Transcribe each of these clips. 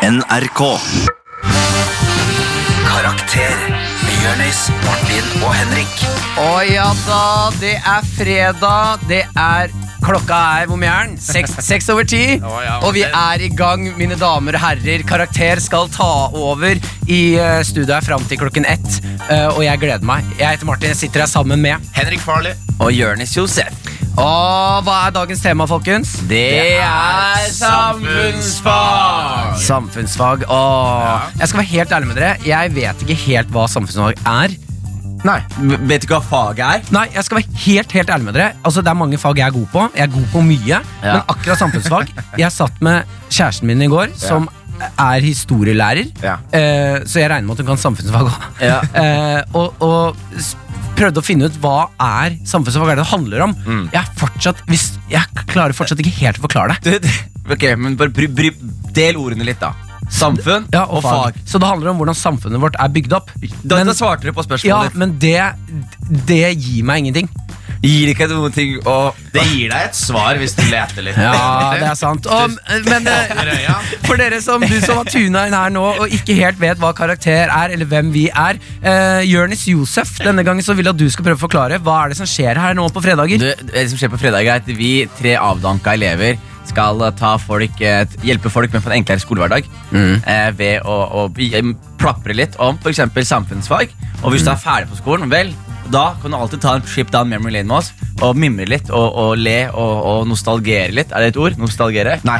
NRK. Karakter. Bjørnis, Martin og Henrik. Å ja da, det er fredag. Det er Klokka er hvor mye er den? Seks, seks over ti. Å, ja, og vi det- er i gang, mine damer og herrer. Karakter skal ta over i eh, studio her fram til klokken ett. Eh, og jeg gleder meg. Jeg heter Martin, jeg sitter her sammen med Henrik Farley. og Jonis Josef. Og hva er dagens tema, folkens? Det er samfunnsfag. Samfunnsfag. Åh. Jeg skal være helt ærlig med dere. Jeg vet ikke helt hva samfunnsfag er. Nei. V- Vet du hva faget er? Nei, jeg skal være helt helt ærlig med dere. Altså, Det er mange fag jeg er god på. Jeg er god på mye. Men akkurat samfunnsfag Jeg satt med kjæresten min i går, som er historielærer. Ja. Eh, så jeg regner med at hun kan samfunnsfag òg. Ja. og, og s- prøvde å finne ut hva er samfunnsfag hva er det det handler om. Mm. Jeg er fortsatt hvis, Jeg klarer fortsatt ikke helt å forklare det. Du, du- ok, men bare bry, bry, Del ordene litt, da. Samfunn Ja, og fag. Så det handler om hvordan samfunnet vårt er bygd opp. Da, Men- da svarte du på ja, spørsmålet ditt. men det, det gir meg ingenting. Gir ikke noen ting å Det gir deg et svar hvis du leter litt. Ja, det er sant. Og, men Åpner eh, øya. for dere som du som har tuna inn her nå og ikke helt vet hva karakter er, eller hvem vi er eh, Jørnis Josef, denne gangen så vil jeg at du skal prøve å forklare hva er det som skjer her nå på fredager. Du, det som skjer på fredag er at Vi tre avdanka elever skal eh, ta folk, eh, t- hjelpe folk med å få en enklere skolehverdag Mm. eh, ved å, å bi- em, plapre litt om for eksempel samfunnsfag. Og Mm. hvis du er ferdig på skolen, vel, da kan du alltid ta en trip down memory lane med oss og mimre litt og, og le og, og nostalgere litt. Er det et ord? Nostalgere? Nei.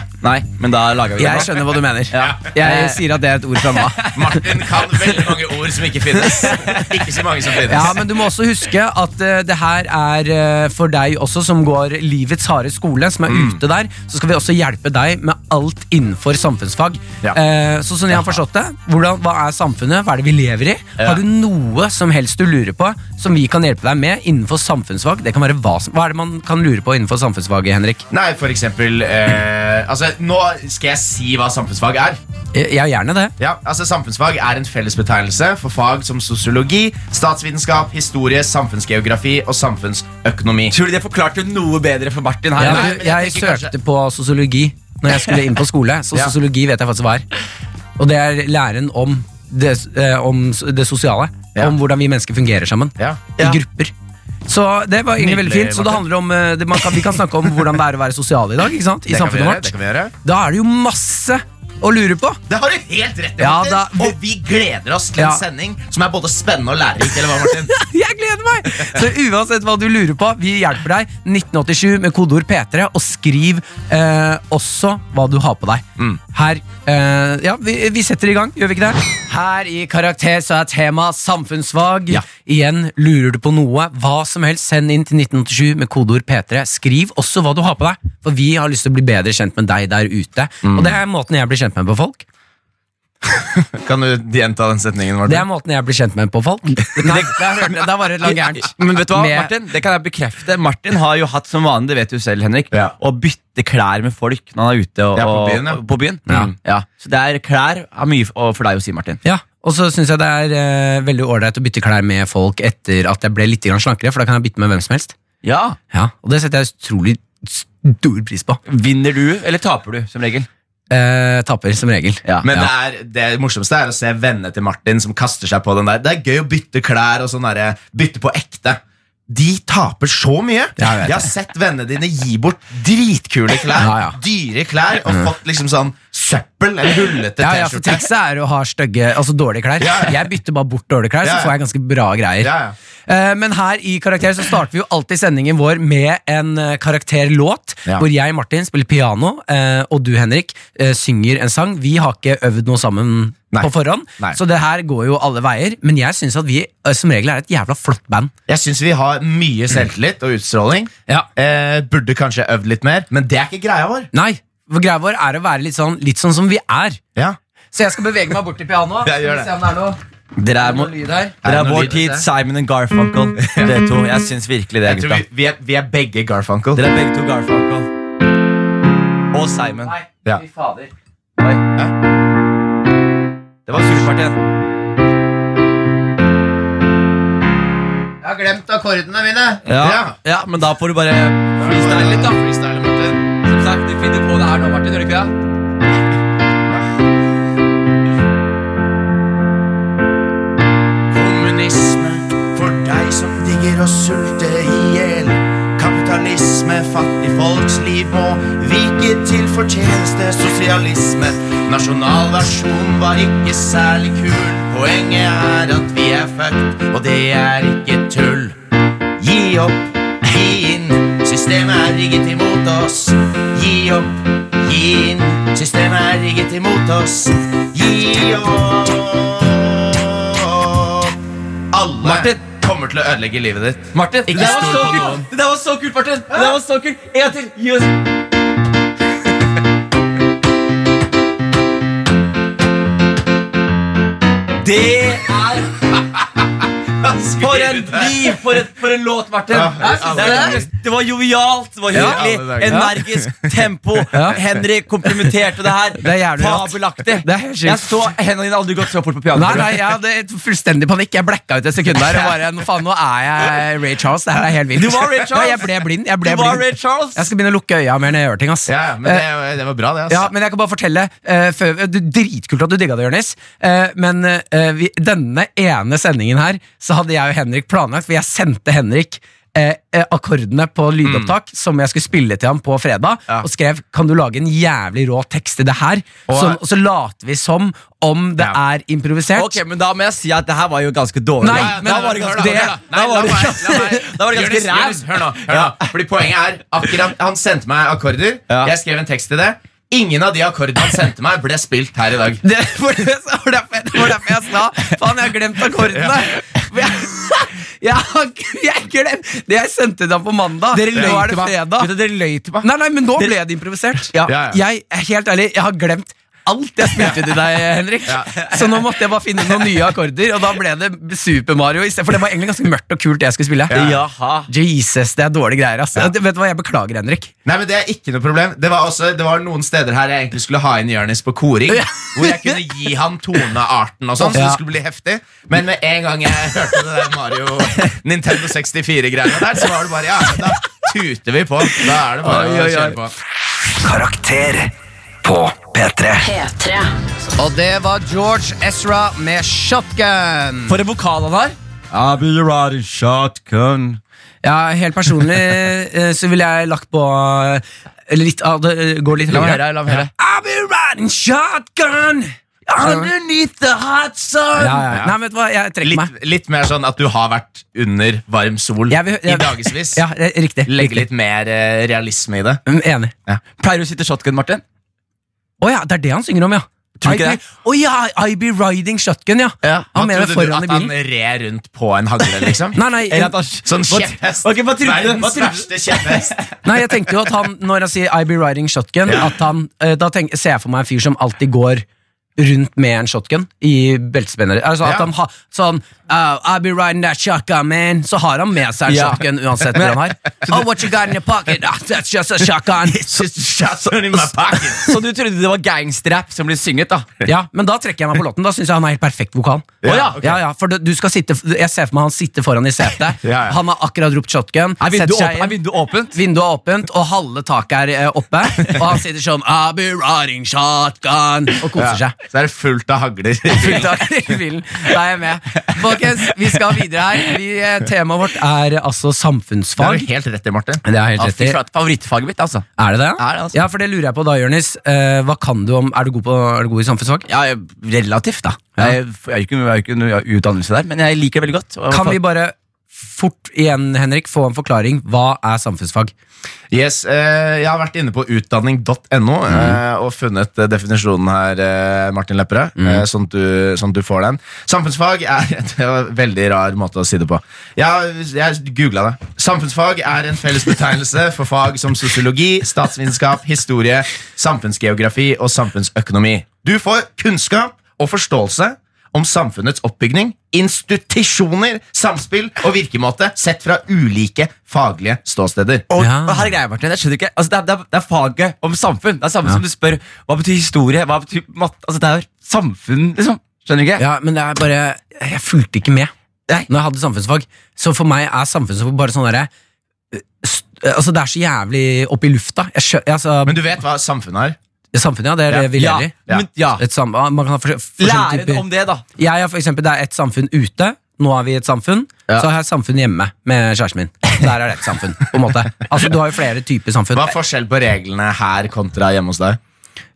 men da lager vi det. Jeg nå. skjønner hva du mener. Ja. Jeg sier at det er et ord fra nå av. Martin kan veldig mange ord som ikke finnes. Ikke så mange som finnes. Ja, men du må også huske at eh, det her er eh, for deg også som går livets harde skole, som Mm. er ute der. Så skal vi også hjelpe deg med alt innenfor samfunnsfag. Ja. Eh, så sånn jeg har forstått det, hvordan, hva er samfunnet, hva er det vi lever i? Har du noe som helst du lurer på som vi kan hjelpe deg med innenfor samfunnsfag? Det kan være hva, som, hva er det man kan lure på innenfor samfunnsfaget, Henrik? Nei, for eksempel eh, altså, Nå skal jeg si hva samfunnsfag er. Eh, Ja, gjerne det. Ja, altså Samfunnsfag er en fellesbetegnelse for fag som sosiologi, statsvitenskap, historie, samfunnsgeografi og samfunnsøkonomi. Tror du det forklarte noe bedre for Martin her? Jeg, nei, eller? men jeg jeg tenker kanskje- søkte på sosiologi når jeg skulle inn på skole, så Ja. sosiologi vet jeg faktisk hva er. Og det er læren om det, eh, om s- det sosiale. Ja. Om hvordan vi mennesker fungerer sammen. Ja. Ja. I grupper. Så det var egentlig veldig fint. Nydelig, Så det Martin. handler om eh, det, man kan, Vi kan snakke om hvordan det er å være sosial i dag. Ikke sant? I Det kan vi samfunnet gjøre, vårt. det kan vi gjøre. Da er det jo masse å lure på. Det har du helt rett i, Ja, Martin. da- vi- Og vi gleder oss til Ja. en sending som er både spennende og lærerik. Eller hva, Martin? Jeg gleder meg! Så uansett hva du lurer på, vi hjelper deg. 1987 med kodeord P3, og skriv eh, også hva du har på deg. Mm. Her eh, Ja, vi, vi setter i gang, gjør vi ikke det? Her i Karakter så er tema samfunnsfag. Ja. Igjen, lurer du på noe, hva som helst, send inn til 1987 med kodeord P3. Skriv også hva du har på deg, for vi har lyst til å bli bedre kjent med deg der ute. Mm. Og det er måten jeg blir kjent med på folk. Kan du gjenta den setningen? Martin? Det er måten jeg blir kjent med på folk. Nei, der hørte jeg, der var det langgærent. Men vet du hva, Med- Martin? Det kan jeg bekrefte. Martin har jo hatt som vanlig, det vet du selv, Henrik, Ja. å bytte klær med folk når han er ute og, Ja, på byen, ja. og- på byen. Ja. Mm, ja. Så det er klær er mye f- å- for deg å si, Martin. Ja, og så syns jeg det er eh, veldig ålreit å bytte klær med folk etter at jeg ble litt grann slankere, for da kan jeg bytte med hvem som helst. Ja. Ja, Og det setter jeg utrolig stor pris på. Vinner du, eller taper du, som regel? Eh, taper, som regel. Ja. Men Ja. det, er, det morsomste er å se vennene til Martin som kaster seg på den der. Det er gøy å bytte klær og sånn derre bytte på ekte. De taper så mye! Ja, jeg vet jeg har sett vennene dine gi bort dritkule klær, Ja, ja. dyre klær, og fått liksom sånn søppel eller hullete Ja, ja, for T-skjorte. Trikset er å ha stygge, altså dårlige klær. Ja, ja. Jeg bytter bare bort dårlige klær, Ja, så ja. får jeg ganske bra greier. Ja, ja. Eh, Men her i Karakter så starter vi jo alltid sendingen vår med en eh, karakterlåt, Ja. hvor jeg, Martin, spiller piano, eh, og du, Henrik, eh, synger en sang. Vi har ikke øvd noe sammen Nei. på forhånd, Nei. så det her går jo alle veier. Men jeg syns at vi eh, som regel er et jævla flott band. Jeg syns vi har mye selvtillit og utstråling. Mm. Ja. Eh, burde kanskje øvd litt mer, men det er ikke greia vår. Nei, for greia vår er å være litt sånn, litt sånn som vi er. Ja. Så jeg skal bevege meg bort til pianoet. Ja, gjør det. Skal vi Se om det er noe, Dere er, er det mo- noe lyd her. dere er Er det noe vår lyd, tid dette? Simon and Garfunkel. Dere to. Jeg syns virkelig det, Jeg tror gutta. vi, vi, er, vi er begge Garfunkel. Dere er begge to Garfunkel. Og Simon. Nei, Ja. fy fader. Oi. Det var surt, Martin. Jeg har glemt akkordene mine. Ja. Ja. ja, men da får du bare freestyle litt, da. Freestyle, Martin. Som sagt, du finner på det her nå, Martin. Gjør du ikke det? Nasjonalversjon var ikke særlig kul. Poenget er at vi er fucked, og det er ikke tull. Gi opp, gi inn. Systemet er rigget imot oss. Gi opp, gi inn. Systemet er rigget imot oss. Gi opp. Alle Martin. kommer til å ødelegge livet ditt. Martin, det Ikke der var stol så på noen. kult! Det der var så kult, Martin! Det der var så kult. En gang til! Gi oss Det er For en liv! For, et, for en låt, Martin! Ja, Det er- det, er- det var jovialt, det var hyggelig, Ja. energisk tempo. Ja. Henrik komplimenterte det her. Det er jævlig rått. Fabelaktig. Det er helt Jeg sjukt. så hendene dine aldri gått så fort på pianoet. Nei, nei, jeg hadde et fullstendig panikk. Jeg blacka ut et sekund der. Og bare, nå faen, nå er jeg Ray Charles. Det her er helt vilt. Du var Ray Charles. Ja, jeg ble blind. Jeg, ble Det var blind. Ray Charles. jeg skal begynne å lukke øya mer når jeg gjør ting. ass Ja, ja, men Eh, det, det var bra, det. altså. ass. Ja, men jeg kan bare fortelle eh, før, du, Dritkult at du digga det, Jonis. Eh, men eh, vi, denne ene sendingen her Så hadde jeg og Henrik planlagt, for jeg sendte Henrik eh, eh, akkordene på Mm. lydopptak som jeg skulle spille til ham på fredag, Ja. og skrev 'Kan du lage en jævlig rå tekst til det her?' Og- så, og så later vi som om det Ja. er improvisert. Ok, men da må jeg si at det her var jo ganske dårlig. Nei, Da- men- da var det ganske hør da, det, hør da. da var det la meg- ganske, la meg- da var det ganske Jonis, ræv. Jonis, Hør nå, hør nå. Fordi poenget er akkurat, Han sendte meg akkorder. Ja. Jeg skrev en tekst til det. Ingen av de akkordene han sendte meg, ble spilt her i dag. Det var det- det var derfor jeg- det var derfor jeg sa Faen, jeg har glemt akkordene! For Jeg, jeg, har- jeg glemt Det jeg sendte deg på mandag, Dere løy nå er det til meg. fredag. Vet du, dere løy til meg. Nei, nei, men nå ble det improvisert. Ja, ja. Jeg, helt ærlig, jeg har glemt alt jeg spilte til deg, Henrik. Så nå måtte jeg bare finne noen nye akkorder, og da ble det Super Mario. i stedet, For det var egentlig ganske mørkt og kult, det jeg skulle spille. Jaha. Jesus, det er dårlige greier. ass. Det- Vet du hva, Jeg beklager, Henrik. Nei, men Det er ikke noe problem. Det var, også, det var noen steder her jeg egentlig skulle ha inn Jonis på koring. Hvor jeg kunne gi han tonearten og sånn, så Ja. det skulle bli heftig. Men med en gang jeg hørte det der Mario Nintendo 64-greiene der, så var det bare ja, men da tuter vi på. Da er det Oi, bare oi, å oi. kjøre på. Karakter på P3. P3. Og det var George Ezra med shotgun. For en vokal han har. I'll be riding shotgun. Ja, helt personlig eh, så ville jeg lagt på eh, litt av det eh, Går litt La meg lenger. høre. la meg høre I'll be riding shotgun Underneath the hot sun. ja, ja. Nei, vet du hva, jeg trekker Litt, meg. litt mer sånn at du har vært under varm sol Jeg vil- i jeg- dagevis. Ja, eh, riktig. Legge riktig. litt mer eh, realisme i det. Mm, Enig. Pleier du å sitte shotgun, Martin? Å ja, det er det han synger om, ja. Tror du ikke I be- Å ja, I be riding shotgun, ja. Ja, Han Hva mener trodde du foran at i han bilen. red rundt på en hagle, liksom? Nei, eh, nei, Eller at jeg, han- Sånn Hva- kjepphest. Ok, hva trodde du? Hva trodde Verdens du? verste kjepphest. nei, jeg tenkte jo at han, når han sier I be riding shotgun, Ja. at han, eh, da tenk, ser jeg for meg en fyr som alltid går rundt med en shotgun i beltespennere. Altså at Ja. han har sånn oh, I be riding that shotgun, man. Så har han med seg en Ja. shotgun uansett hvor han har. Oh, what you got in your pocket? Ah, that's just a shotgun. Shots are in my pocket. Så du trodde det var gangsterrap som ble synget, da? Ja, men da trekker jeg meg på låten. Da syns jeg han er helt perfekt vokal. Ja, Å ja, ok. ja, ja, for du, du skal sitte Jeg ser for meg han sitter foran i setet. Ja, ja. Han har akkurat ropt shotgun. Er vinduet, setter seg åp- er inn. vinduet åpent? Vinduet er åpent, og halve taket er eh, oppe. Og han sitter sånn I'll be riding shotgun og koser Ja. seg. Så er det fullt av hagler. Fullt av i bilen. Da er jeg med. Folkens, vi skal videre her. Vi, eh, temaet vårt er eh, altså Det er samfunnsfag. du helt rett i, Martin. Det er helt Ja, rett i. Ah, fy flate, Favorittfaget mitt, altså. Er det det? Er det altså. Ja, for det lurer jeg på da, Jonis. Eh, hva kan du om Er du god, på, er du god i samfunnsfag? Ja, jeg- Relativt, da. Jeg jeg har jo ikke jeg har jo ikke noe utdannelse der, men jeg liker det veldig godt. Og- Kan vi bare fort igjen, Henrik, få en forklaring? Hva er samfunnsfag? Yes, eh, Jeg har vært inne på utdanning.no eh, og funnet eh, definisjonen her, eh, Martin Lepperød. eh, sånn, at du- sånn at du får den. Samfunnsfag er det var en veldig rar måte å si det på. Jeg, jeg googla det. Samfunnsfag er en fellesbetegnelse for fag som sosiologi, statsvitenskap, historie, samfunnsgeografi og samfunnsøkonomi. Du får kunnskap og forståelse om samfunnets oppbygning, institusjoner, samspill og virkemåte sett fra ulike faglige ståsteder. Og, Ja. og her er greia, Martin, jeg skjønner ikke altså, det, er, det, er, det er faget om samfunn. Det er samme Ja. som du spør hva betyr historie, hva betyr mat Altså, det er samfunn, liksom. Skjønner du ikke? Ja, men det er bare Jeg fulgte ikke med Nei. når jeg hadde samfunnsfag. Så for meg er samfunnsfag bare sånn derre eh, st- eh, Altså, det er så jævlig opp i lufta. Jeg skjø, altså, Men du vet hva samfunnet er? samfunnet, ja. Det er det vi lever i. Ja. Men, ja. Et sam, ah, man kan ha forse- forskjellige Læren typer om det, da. Jeg er for eksempel, Det er et samfunn ute. Nå er vi i et samfunn. Så har jeg et samfunn hjemme med kjæresten min. Der er det et samfunn. på en måte Altså Du har jo flere typer samfunn. Hva er forskjell på reglene her kontra hjemme hos deg?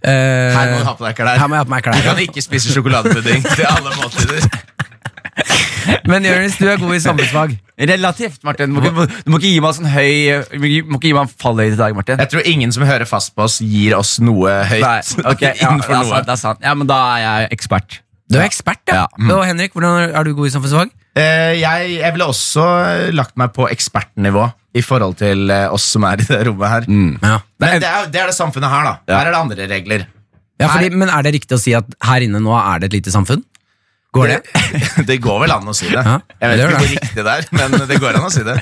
Eh, Her må du ha på deg klær. her må jeg ha på meg klær. Du kan ikke spise sjokoladepudding til alle måltider. Men Jonis, du er god i samfunnsfag. Relativt, Martin. Du må, ikke- du må ikke gi meg sånn høy Du må ikke- må ikke gi meg en fallhøyde i dag, Martin. Jeg tror ingen som hører fast på oss, gir oss noe høyt. Nei, ok, ja, det, er innenfor altså- noe. sant, det er sant. Ja, men da er jeg ekspert. Du er ekspert, ja. Og Henrik, hvordan er- er du god i samfunnsfag? Eh, jeg, jeg ville også lagt meg på ekspertnivå i forhold til eh, oss som er i det rommet her. Ja. Men det er, det er det samfunnet her, da. Her er det andre regler. Ja, fordi, men er det riktig å si at her inne nå er det et lite samfunn? Går det? Det går vel an å si det. Ja, jeg vet det ikke gjør hvor riktig det er, men det går an å si det.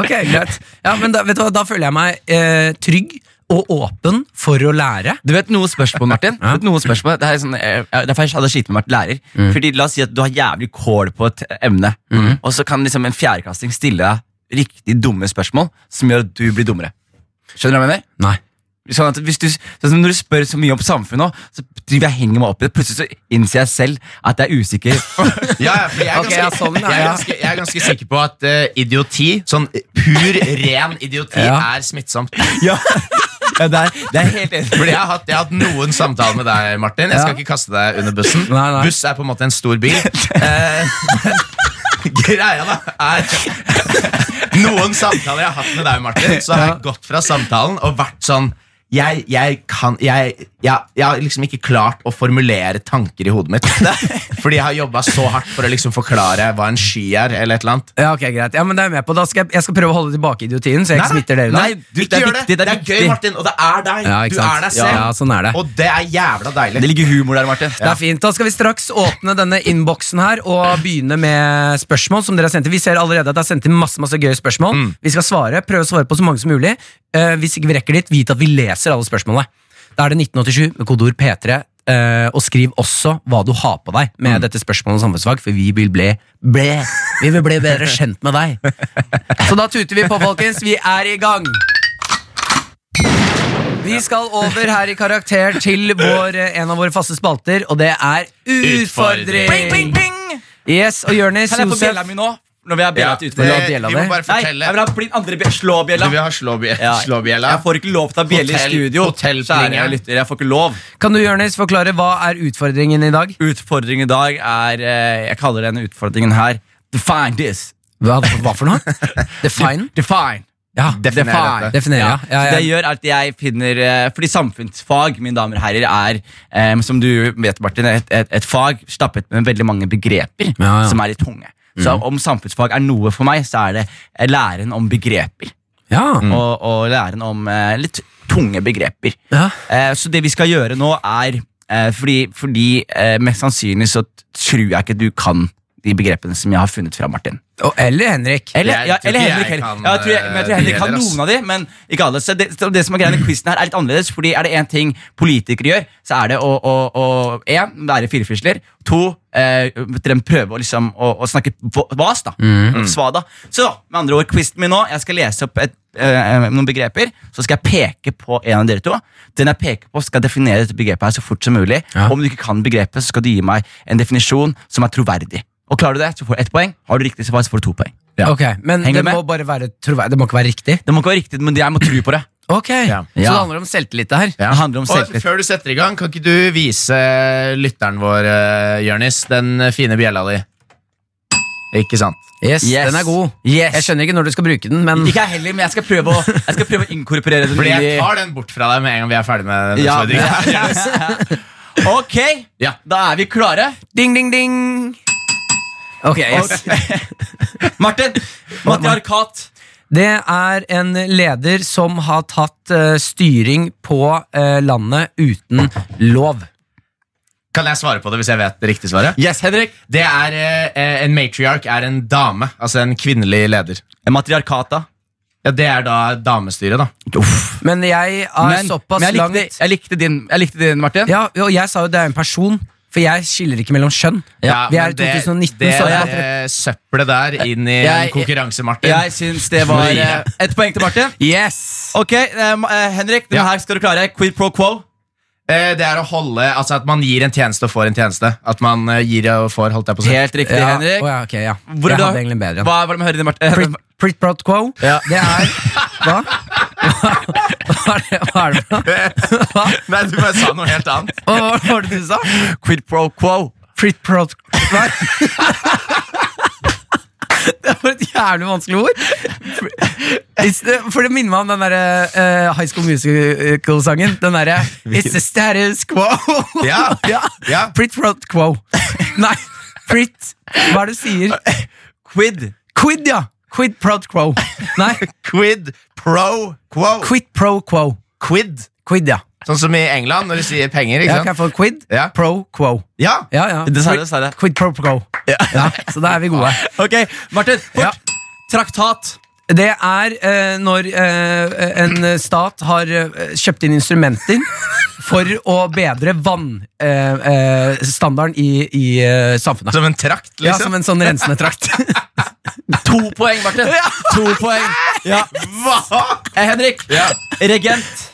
Ok, greit. Ja, men da, vet du hva, da føler jeg meg eh, trygg og åpen for å lære. Du vet noe spørsmål, Martin? Du vet noe spørsmål. Det er sånn, eh, derfor jeg hadde slitt med å være lærer. Mm. Fordi La oss si at du har jævlig kål på et emne, og så kan liksom en fjerdeklassing stille deg riktig dumme spørsmål som gjør at du blir dummere. Skjønner du hva jeg mener? Nei. Sånn at hvis du, sånn som Når du spør så mye om samfunnet, nå, så driver jeg og henger meg opp i det. Plutselig så innser jeg selv at jeg er usikker. Ja, ja, for jeg, er Ok, ganske, ja, sånn, ja, jeg, er ja. ganske, jeg er ganske sikker på at eh, idioti, sånn pur, ren idioti, Ja. er smittsomt. ja, ja det, er, det er helt enig. Fordi jeg har, hatt, jeg har hatt noen samtaler med deg, Martin. Jeg skal Ja. ikke kaste deg under bussen. Nei, nei. Buss er på en måte en stor bil. Eh, Greia, da, er Noen samtaler jeg har hatt med deg, Martin, så har jeg gått fra samtalen og vært sånn jeg, jeg, kan, jeg, jeg, jeg har liksom ikke klart å formulere tanker i hodet mitt. Fordi jeg har jobba så hardt for å liksom forklare hva en sky er. eller et eller annet Ja, ok, greit. Ja, men det er jeg med på. Da skal jeg, jeg skal prøve å holde tilbake idiotien, så jeg ikke smitter dere. da. Nei, du, det ikke er gjør viktig, det. det Det er er gøy, viktig. Martin, og det er deg. Ja, ikke du sant? er deg selv. Ja, sånn er det. Og det er jævla deilig. Det ligger humor der, Martin. Det er fint. Da skal vi straks åpne denne innboksen her og begynne med spørsmål som dere har sendt inn. Vi ser allerede at det er sendt inn masse masse gøye spørsmål. Vi skal svare, prøve å svare på så mange som mulig. Eh, hvis ikke vi rekker dit, vit at vi leser alle spørsmålene. Da er det 1987 med kodeord P3. eh, og skriv også hva du har på deg med dette spørsmålet om samfunnsfag, for vi vil bli, bli, vi vil bli bedre kjent med deg. Så da tuter vi på, folkens. Vi er i gang. Vi skal over her i karakter til vår, eh, en av våre faste spalter, og det er utfordring. Bing, bing, bing. Yes, og Jonis Kan jeg få bjella Josef. mi nå? Når vi har bjella Ja, til Vil du utfordring. ha bjella vi må di? bare Nei, fortelle jeg vil ha bli- andre bjella. Slå bjella. Du vil ha slåbje- Ja. slåbjella? Jeg får ikke lov til å ha bjelle i Hotell- studio. hotellplingeren. Kjære lytter, jeg får ikke lov. Kan du Jonis, forklare hva er utfordringen i dag? Utfordring i dag er eh, Jeg kaller denne utfordringen her Define this. Hva, hva for noe? Define? Define. Ja, define. Definer dette. Definere, ja. ja, Så Det ja. gjør at jeg finner eh, Fordi samfunnsfag, mine damer og herrer, er eh, som du vet, Martin, et, et, et fag stappet med veldig mange begreper Ja, Mm. ja. som er litt tunge. Så om samfunnsfag er noe for meg, så er det eh, læren om begreper. ja. Og, og læren om eh, litt tunge begreper. ja. Eh, Så det vi skal gjøre nå er eh, Fordi, fordi eh, mest sannsynlig så tror jeg ikke du kan de begrepene som jeg har funnet fra Martin. Og, eller Henrik. Eller, Jeg ja, tror eller ikke Henrik jeg heller. kan, Ja, jeg tror jeg, men jeg tror eh, Henrik de kan heller, ass. noen av de, men ikke alle. Så det, så det som er greia med quizen her, er litt annerledes. Fordi er det én ting politikere gjør, så er det å, å, å en, være firfisler. To, eh, de prøver å, liksom, å, å snakke va- vas, da. Mm. Svada. Så med andre ord, quizen min nå, jeg skal lese opp et, eh, noen begreper. Så skal jeg peke på en av dere to. Den jeg peker på, skal definere dette begrepet her så fort som mulig. Ja. Om du ikke kan begrepet, så skal du gi meg en definisjon som er troverdig. Og Klarer du det, så får du ett poeng. Har du riktig svar, så får du to poeng. Ok, Men Henger det du med? må bare være troverdig. Det må ikke være riktig. Det må ikke være riktig, men jeg må tro på det. Ok, Ja. Så det handler om selvtillit, det her. Ja. Det handler om Og selvtillit. før du setter i gang, kan ikke du vise eh, lytteren vår, uh, Jørnis, den fine bjella di? Ikke sant? Yes, Yes. Den er god. Yes. Jeg skjønner ikke når du skal bruke den, men Ikke jeg heller, men jeg skal prøve å, jeg skal prøve å inkorporere det. Fordi jeg i- tar den bort fra deg med en gang vi er ferdig med den ja, utfordringen. men- Ok, Ja. da er vi klare. ding, ding, ding. Ok, yes. Martin, matriarkat. Det er en leder som har tatt eh, styring på eh, landet uten lov. Kan jeg svare på det hvis jeg vet det riktige svaret? Yes, Henrik. Det er eh, En matriark er en dame, altså en kvinnelig leder. Matriarkata. Ja, Det er da damestyret, da. Men jeg er Men, såpass men jeg, likte, langt jeg, likte din, jeg likte din, Martin. Ja, og jeg sa jo det er en person, for jeg skiller ikke mellom kjønn. Vi er men i 2019, det, så det jeg- er, eh, søppelet der inn i Jeg- en konkurranse, Martin. Jeg syns det var eh, ett poeng til Martin. Yes! Ok, eh, Ma- eh, Henrik, denne Ja. her skal du klare. Quid pro quo. Eh, Det er å holde, altså at man gir en tjeneste og får en tjeneste. At man eh, gir og får, holdt jeg på å si. Helt riktig, Ja, Henrik. å ja, ok, ja. Hvor er jeg du- hadde egentlig en bedre. Hva var det med høyre, Martin? Prit, prit pro quo, Ja. det er Hva? Hva er det, hva er det for noe? Hva? Nei, du bare sa noe helt annet. Hva var- hva var det du sa? Quid pro quo. Prit pro... Nei. Det var et jævlig vanskelig ord. It's the, for det minner meg om den derre eh, High School Musical-sangen. Den derre It's the status quo. Ja, ja. ja. Prit pro quo. Nei, prit Hva er det du sier? Quid. Quid, ja. Quid pro quo. Nei, Quid pro quo. quid pro quo. Quid. Quid, ja. Sånn som i England, når de sier penger. ja ikke kan sant? jeg få quid Ja. pro quo? Ja. Ja, ja. Det sa jeg, det sa jeg. Quid pro quo. Ja, så da er vi gode. Ok, Martin. Fort. Ja. Traktat. Det er eh, når eh, en stat har eh, kjøpt inn instrumenter for å bedre vannstandarden eh, standarden i, i eh, samfunnet. Som en trakt, ja, liksom. som en sånn rensende trakt. To poeng, Martin. To poeng. Ja. Hva? Eh, Henrik. Ja. Regent.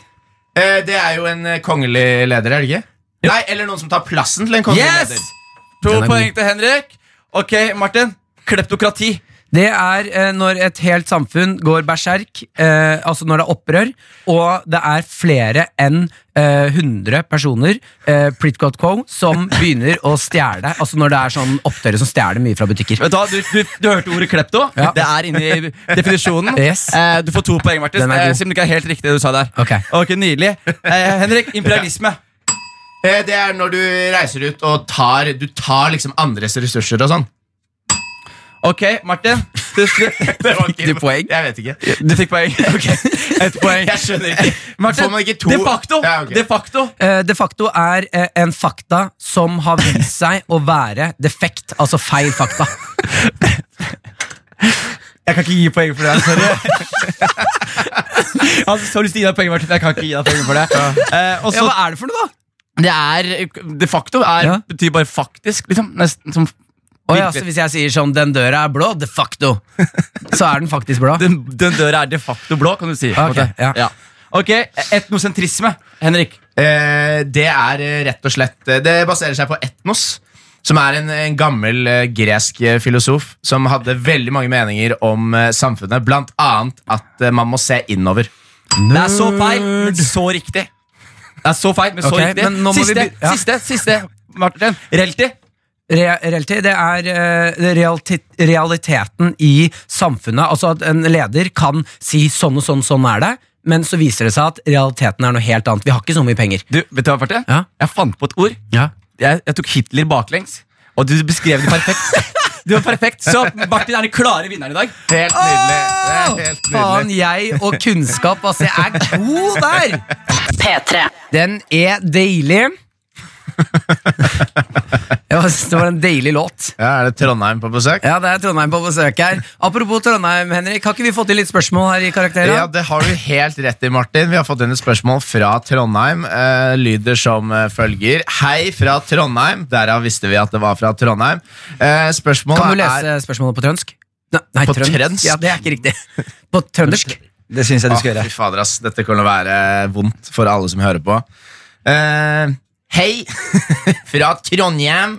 Eh, det er jo en eh, kongelig leder, er det ikke? Nei, eller noen som tar plassen til en kongelig Yes! leder. To Den er poeng til Henrik. Ok, Martin. Kleptokrati. Det er eh, når et helt samfunn går berserk, eh, altså når det er opprør, og det er flere enn eh, 100 personer eh, Pritcott Quo, som begynner å stjele. Altså når det er sånn opptøyer som stjeler mye fra butikker. Vet Du, hva, du, du, du hørte ordet klepto. Ja. Det er inne i definisjonen. Yes. Eh, du får to poeng, Martin. Den er Eh, god. siden du ikke er helt riktig det du sa der. Ok. Ok, Nydelig. Eh, Henrik, imperialisme. Eh, det er når du reiser ut og tar, du tar liksom andres ressurser og sånn. Ok, Martin. Du, du, Det var ikke- Fikk du poeng? Jeg vet ikke. du fikk poeng. Ett poeng. Jeg skjønner ikke. Martin, Får man ikke to? de facto. Ja, ok. De facto. Eh, De facto er eh, en fakta som har vist seg å være defekt, altså feil fakta. Jeg kan ikke gi poeng for det. Sorry. altså, så lyst til å gi deg poeng, Martin. Jeg kan ikke gi deg poeng for det. Eh, og så hva er det for noe, da? Det er de facto er, Ja. betyr bare faktisk, liksom. Nesten som Å ja, så Hvis jeg sier sånn 'den døra er blå', de facto, så er den faktisk blå. den, den døra er de facto blå, kan du si. på en Ok, måte. ja. Ok, Etnosentrisme, Henrik. Eh, det er eh, rett og slett eh, Det baserer seg på etnos, som er en, en gammel eh, gresk eh, filosof som hadde veldig mange meninger om eh, samfunnet, blant annet at eh, man må se innover. Det er så feil, men så riktig. Det er så feil, men så Ok, riktig. men nå må vi Siste, be- ja. siste, siste. Martin, Reality. Re reality, det er eh, realti- realiteten i samfunnet. Altså at en leder kan si 'sånn og sånn, sånn er det', men så viser det seg at realiteten er noe helt annet. Vi har ikke så mye penger. Du, vet du hva, Martin? Ja. Jeg fant på et ord. Jeg, jeg tok Hitler baklengs, og du beskrev det perfekt. Du var perfekt, Så Martin er den klare vinneren i dag. Helt nydelig. Det er helt Faen, nydelig. jeg og kunnskap, altså. Jeg er god der! P3. Den er deilig. Jeg bare synes Det var en deilig låt. Ja, er det Trondheim på besøk? Ja, det er Trondheim på besøk her. Apropos Trondheim, Henrik. Har ikke vi fått inn litt spørsmål her i Karakterer? Ja, det har du helt rett i, Martin. Vi har fått inn et spørsmål fra Trondheim. Eh, lyder som eh, følger. Hei fra Trondheim. Derav visste vi at det var fra Trondheim. Eh, spørsmålet Kan du er lese spørsmålet på trønsk? Ne- Nei, På trønsk. trønsk? Ja, det er ikke riktig. På trøndersk? Det syns jeg Ah, Fy fader, ass. Dette kommer til å være eh, vondt for alle som hører på. Eh, hei fra Trondheim.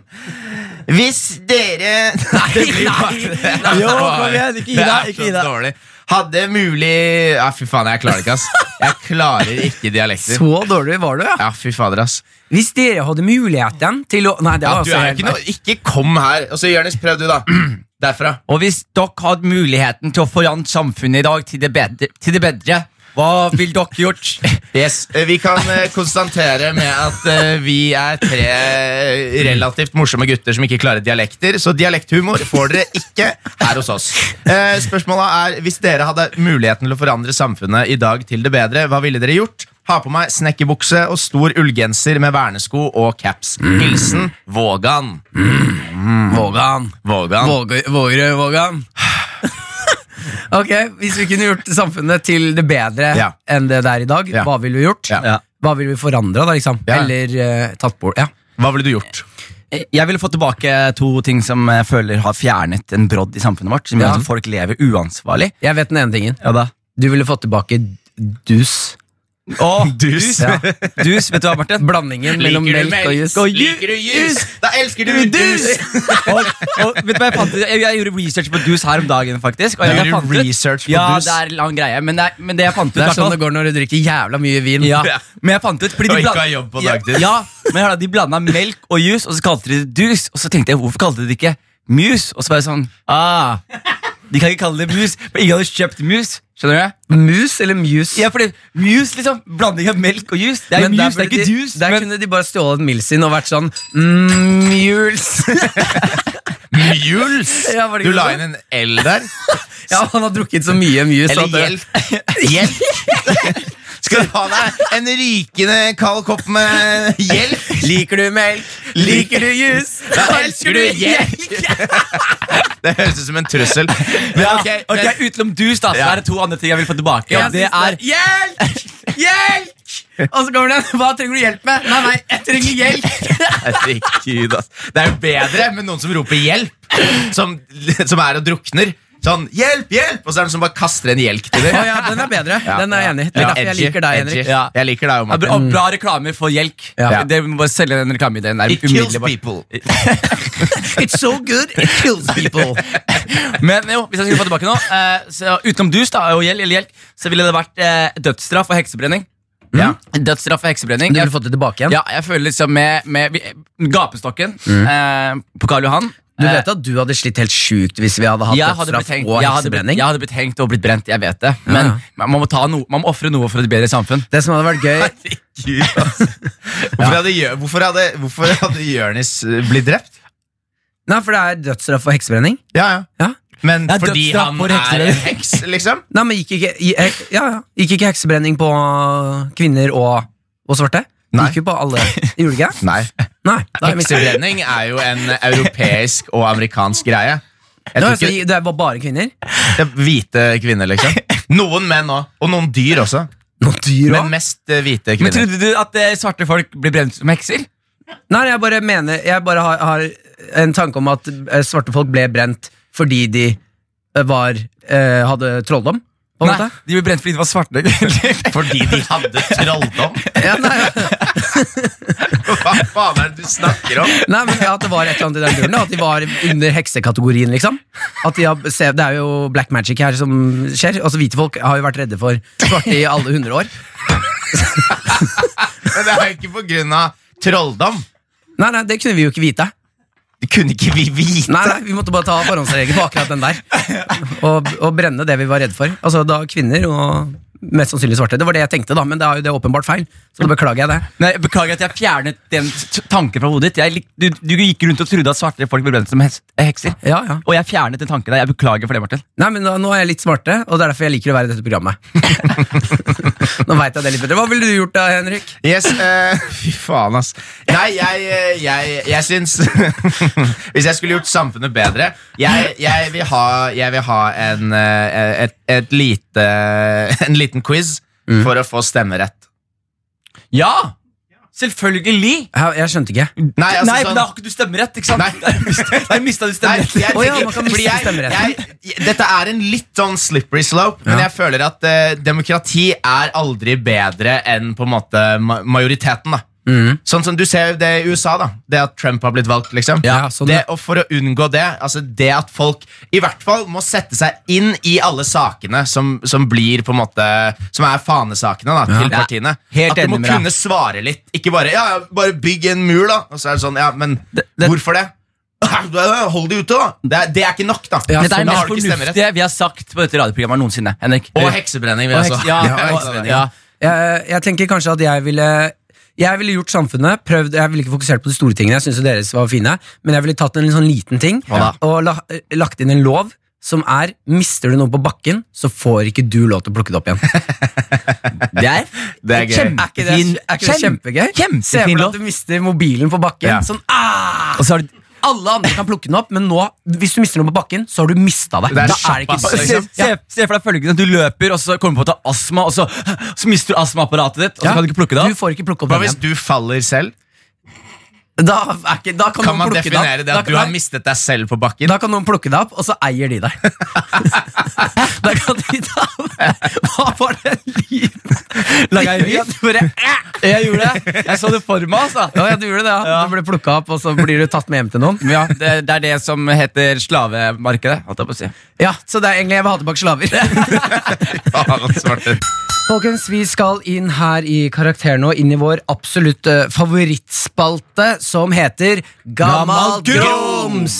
Hvis dere Nei, det blir bare det. Jo, kom igjen, ikke gi Det er deg, ikke gi så deg. dårlig. Hadde mulig Ja, fy faen, jeg klarer det ikke, ass. Jeg klarer ikke dialekter. Så dårlig var du, ja. Ja, fy fader, ass. Hvis dere hadde muligheten til å Nei, det Ja, var du altså er helt ikke, noe, ikke kom her. Og så, Jonis, prøv du, da. Derfra. Og hvis dere hadde muligheten til å forandre samfunnet i dag til det bedre, til det bedre hva ville dere gjort? Yes, eh, Vi kan eh, konstatere med at eh, vi er tre eh, relativt morsomme gutter som ikke klarer dialekter, så dialekthumor får dere ikke her hos oss. Eh, Spørsmålet er, Hvis dere hadde muligheten til å forandre samfunnet i dag til det bedre, hva ville dere gjort? Ha på meg snekkerbukse og stor ullgenser med vernesko og caps. Hilsen Vågan. Vågan. Vågan. Våg- Vågerød Vågan. Ok, Hvis vi kunne gjort samfunnet til det bedre Ja. enn det det er i dag, Ja. hva ville vi gjort? Ja. Hva ville vi forandra, da? liksom? Ja. Eller eh, tatt bort? Ja. Hva ville du gjort? Jeg ville fått tilbake to ting som jeg føler har fjernet en brodd i samfunnet vårt. Som gjør Ja. at folk lever uansvarlig. Jeg vet den ene tingen. Du ville fått tilbake dus. Dus. Ja. Dus, vet du hva, Martin? Blandingen mellom melk, og jus. Liker du jus? Da elsker du dus! og, og vet du hva Jeg fant ut? Jeg, jeg gjorde research på dus her om dagen, faktisk. Og jeg, Du jeg gjorde fant ut- research på ja, dus? det er en lang greie, men det, er, men det jeg fant ut Det er i hvert fall- sånn det går når du drikker jævla mye vin. Ja, men jeg fant ut fordi Og de ikke bland- ha jobb på dagtid. Ja, ja, men hør da, De blanda melk og juice, og så kalte de det dus. Og så tenkte jeg, hvorfor kalte de det ikke mus? Og så var jeg sånn ah, De kan ikke kalle det mus, for ingen hadde kjøpt mus. Skjønner du? Mus eller muse? Ja, fordi mus, liksom. Blanding av melk og juice. Det er Men der mus, burde det er ikke de- juice. Der men- kunne de bare stjålet Milsin og vært sånn mm, Mules. Mules! Ja, var det Du ikke la det? inn en L der. ja, han har drukket så mye muse. at Eller det- hjelp. Hjelp! Skal du ha deg en rykende kald kopp med hjelp? Liker du melk? Liker du jus? Da elsker du hjelp! Det høres ut som en trussel. Men Ja, ok, ok, men, Utenom dus, da, så Ja. er det to andre ting jeg vil få tilbake. Ja, og det er Hjelp! Hjelp! Og så kommer den. Hva trenger du hjelp med? Nei, nei, jeg trenger hjelp. Herregud, ass. Det er jo bedre med noen som roper hjelp, som, som er og drukner. Sånn, hjelp, hjelp! Og så er det noen som bare kaster en hjelk til Å deg. ja, den er bedre. Ja. Den er jeg enig i. Det er Ja, derfor jeg edgy, liker deg, edgy. Henrik. Ja. Jeg liker deg jo, ja, bra, Martin. bra reklamer for hjelk. Mm. Ja. Det vi må bare selge den reklameideen. der It kills umiddelbart. people. It's so good, it kills people. Men jo, hvis jeg skulle få tilbake nå eh, så Utenom dus da, og gjeld, eller hjelk, så ville det vært eh, dødsstraff og heksebrenning. Ja. Dødsstraff og heksebrenning Mm. Du ville jeg, fått det tilbake igjen. ja, jeg føler liksom med, med vi- gapestokken eh, på Karl Johan Mm. Du eh, vet at du hadde slitt helt sjukt hvis vi hadde hatt jeg hadde, blitt dødsstraff hengt, og jeg, hadde blitt, heksebrenning? jeg hadde blitt hengt og blitt brent, jeg vet det. Men Ja. man- man må, ta noe- man må ofre noe for et bedre samfunn. Det som hadde vært gøy Gud, ass. Hvorfor hadde, Jør- hvorfor hadde, hvorfor hadde Jørnis eh, blitt drept? Nei, for det er dødsstraff og heksebrenning. Ja, ja. Ja. Men Ja, fordi dødsstraff han for hekser. er en heks, liksom? Nei, men gikk ikke, i- hek- ja, ja. gikk ikke heksebrenning på kvinner og, og svarte? Nei. Gikk jo på alle. Gjorde det ikke? Nei. Nei. da har jeg mistet det. Heksebrenning er jo en europeisk og amerikansk greie. Nå, Jeg tror altså, ikke, det var bare kvinner? det er hvite kvinner, liksom. Noen menn òg. Og noen dyr også. Noen dyr Men mest eh, hvite Men kvinner. trodde du at eh, svarte folk blir brent som hekser? Nei, jeg bare mener Jeg bare har, har en tanke om at eh, svarte folk ble brent fordi de eh, var eh, hadde trolldom, på en Nei, måte. de blir brent fordi de var svarte. Fordi de hadde trolldom? Ja, nei, ja. Hva faen er det du snakker om? nei, men ja, At det var et eller annet i den duren. da, At de var under heksekategorien, liksom. At de har, se, det er jo black magic her som skjer. Altså, Hvite folk har jo vært redde for svarte i alle hundre år. Men det er jo ikke på grunn av trolldom. Nei, nei, det kunne vi jo ikke vite. Det kunne ikke vi vite. Nei, nei, Vi måtte bare ta forhåndsregel på akkurat den der. Og, og brenne det vi var redde for. Altså da Kvinner og mest sannsynlig svarte. Det var det jeg tenkte, da, men det er jo det er åpenbart feil. Så da beklager jeg det. Nei, jeg Beklager at jeg fjernet den t- tanken fra hodet ditt. Jeg, lik- du, du gikk rundt og trodde at svarte folk ble brent som hes- hekser. Ja, ja. Og jeg fjernet den tanken. der. Jeg beklager for det, Martin. Nei, men da, Nå er jeg litt smartere, og det er derfor jeg liker å være i dette programmet. nå vet jeg det litt bedre. Hva ville du gjort da, Henrik? Yes, eh, Fy faen, ass. Nei, jeg, eh, jeg, jeg syns Hvis jeg skulle gjort samfunnet bedre Jeg, jeg, vil, ha, jeg vil ha en, eh, et, et lite, en liten quiz Mm. for å få stemmerett. Ja! Selvfølgelig! Jeg, jeg skjønte ikke. Nei, altså Nei, men sånn da har ikke du stemmerett, ikke sant? Nei. Da mista du Nei, stemmeretten. jeg Å ja, tenker- man kan miste fordi jeg- stemmeretten. jeg- jeg- Dette er en litt sånn slippery slope, men Ja. jeg føler at eh, demokrati er aldri bedre enn på en måte ma- majoriteten. da Mm. Sånn som Du ser jo det i USA, da det at Trump har blitt valgt. liksom Ja, sånn, det, Og For å unngå det altså Det at folk i hvert fall må sette seg inn i alle sakene som, som blir på en måte Som er fanesakene da til Ja. partiene. Helt at du må enig med deg. kunne svare litt. Ikke bare ja, ja, bare bygg en mur, da. Og så er det sånn, ja, men det- hvorfor det? Hold de ute, da! Det er, det er ikke nok, da. Ja, Dette er da det mest har du ikke stemmerett. fornuftige vi har sagt på dette radioprogrammet noensinne. Henrik Og heksebrenning. vil Og jeg heks- også. ja, Ja, og- heksebrenning. ja. Jeg, jeg tenker kanskje at jeg ville jeg ville gjort samfunnet, prøvd, jeg ville ikke fokusert på de store tingene, jeg synes jo deres var fine, men jeg ville tatt en litt sånn liten ting Hva og la, lagt inn en lov som er mister du noe på bakken, så får ikke du lov til å plukke det opp igjen. Det er, Det er Er ikke det, gøy. kjempefin- er ikke det kjempegøy? Kjempefin Se for deg lov. at du mister mobilen på bakken. Ja. Sånn, ah! Og så har du Alle andre kan plukke den opp, men nå, hvis du mister noe på bakken, så har du mista det. Det er da er det ikke såpass, se, liksom. se, se for deg følgende Du løper, og så kommer du på at du har astma, og så, så mister du astmaapparatet ditt. Og så Ja. kan du ikke plukke det Du opp får ikke plukke opp Hva den hvis igjen. du faller selv? Da, er ikke, da kan, Kan noen man plukke definere deg det opp. at du har mistet deg selv på bakken? Da kan noen plukke deg opp, og så eier de deg. da kan de ta Hva var det lyden? Laga jeg lyd? Ja, du bare, æ! Jeg gjorde det. Jeg så det for meg. altså. ja, ja, du gjorde det, ja. Ja. Du ble plukka opp, og så blir du tatt med hjem til noen. Men Ja, det, det er det som heter slavemarkedet. holdt jeg på å si. Ja, Så det er egentlig jeg vil ha tilbake slaver. Faen, svarte. Folkens, vi skal inn her i Karakter nå, inn i vår absolutt eh, favorittspalte, som heter Gammal Gammal grums!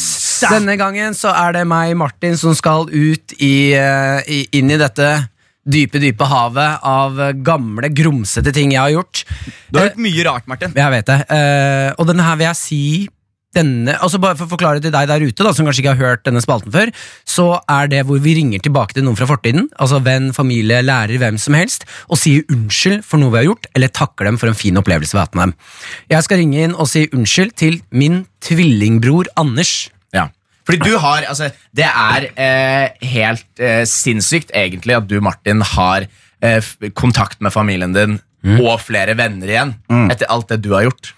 Denne gangen så er det meg, Martin, som skal ut i, eh, i inn i dette dype, dype havet av eh, gamle, grumsete ting jeg har gjort. Du har gjort mye rart, Martin. Jeg vet det. Eh, og denne her vil jeg si denne, altså Bare for å forklare til deg der ute, da, som kanskje ikke har hørt denne spalten før, så er det hvor vi ringer tilbake til noen fra fortiden, altså venn, familie, lærer, hvem som helst, og sier unnskyld for noe vi har gjort, eller takker dem for en fin opplevelse vi har hatt med dem. Jeg skal ringe inn og si unnskyld til min tvillingbror Anders. Ja. Fordi du har, altså, Det er eh, helt eh, sinnssykt egentlig at du, Martin, har eh, f- kontakt med familien din og flere venner igjen etter alt det du har gjort.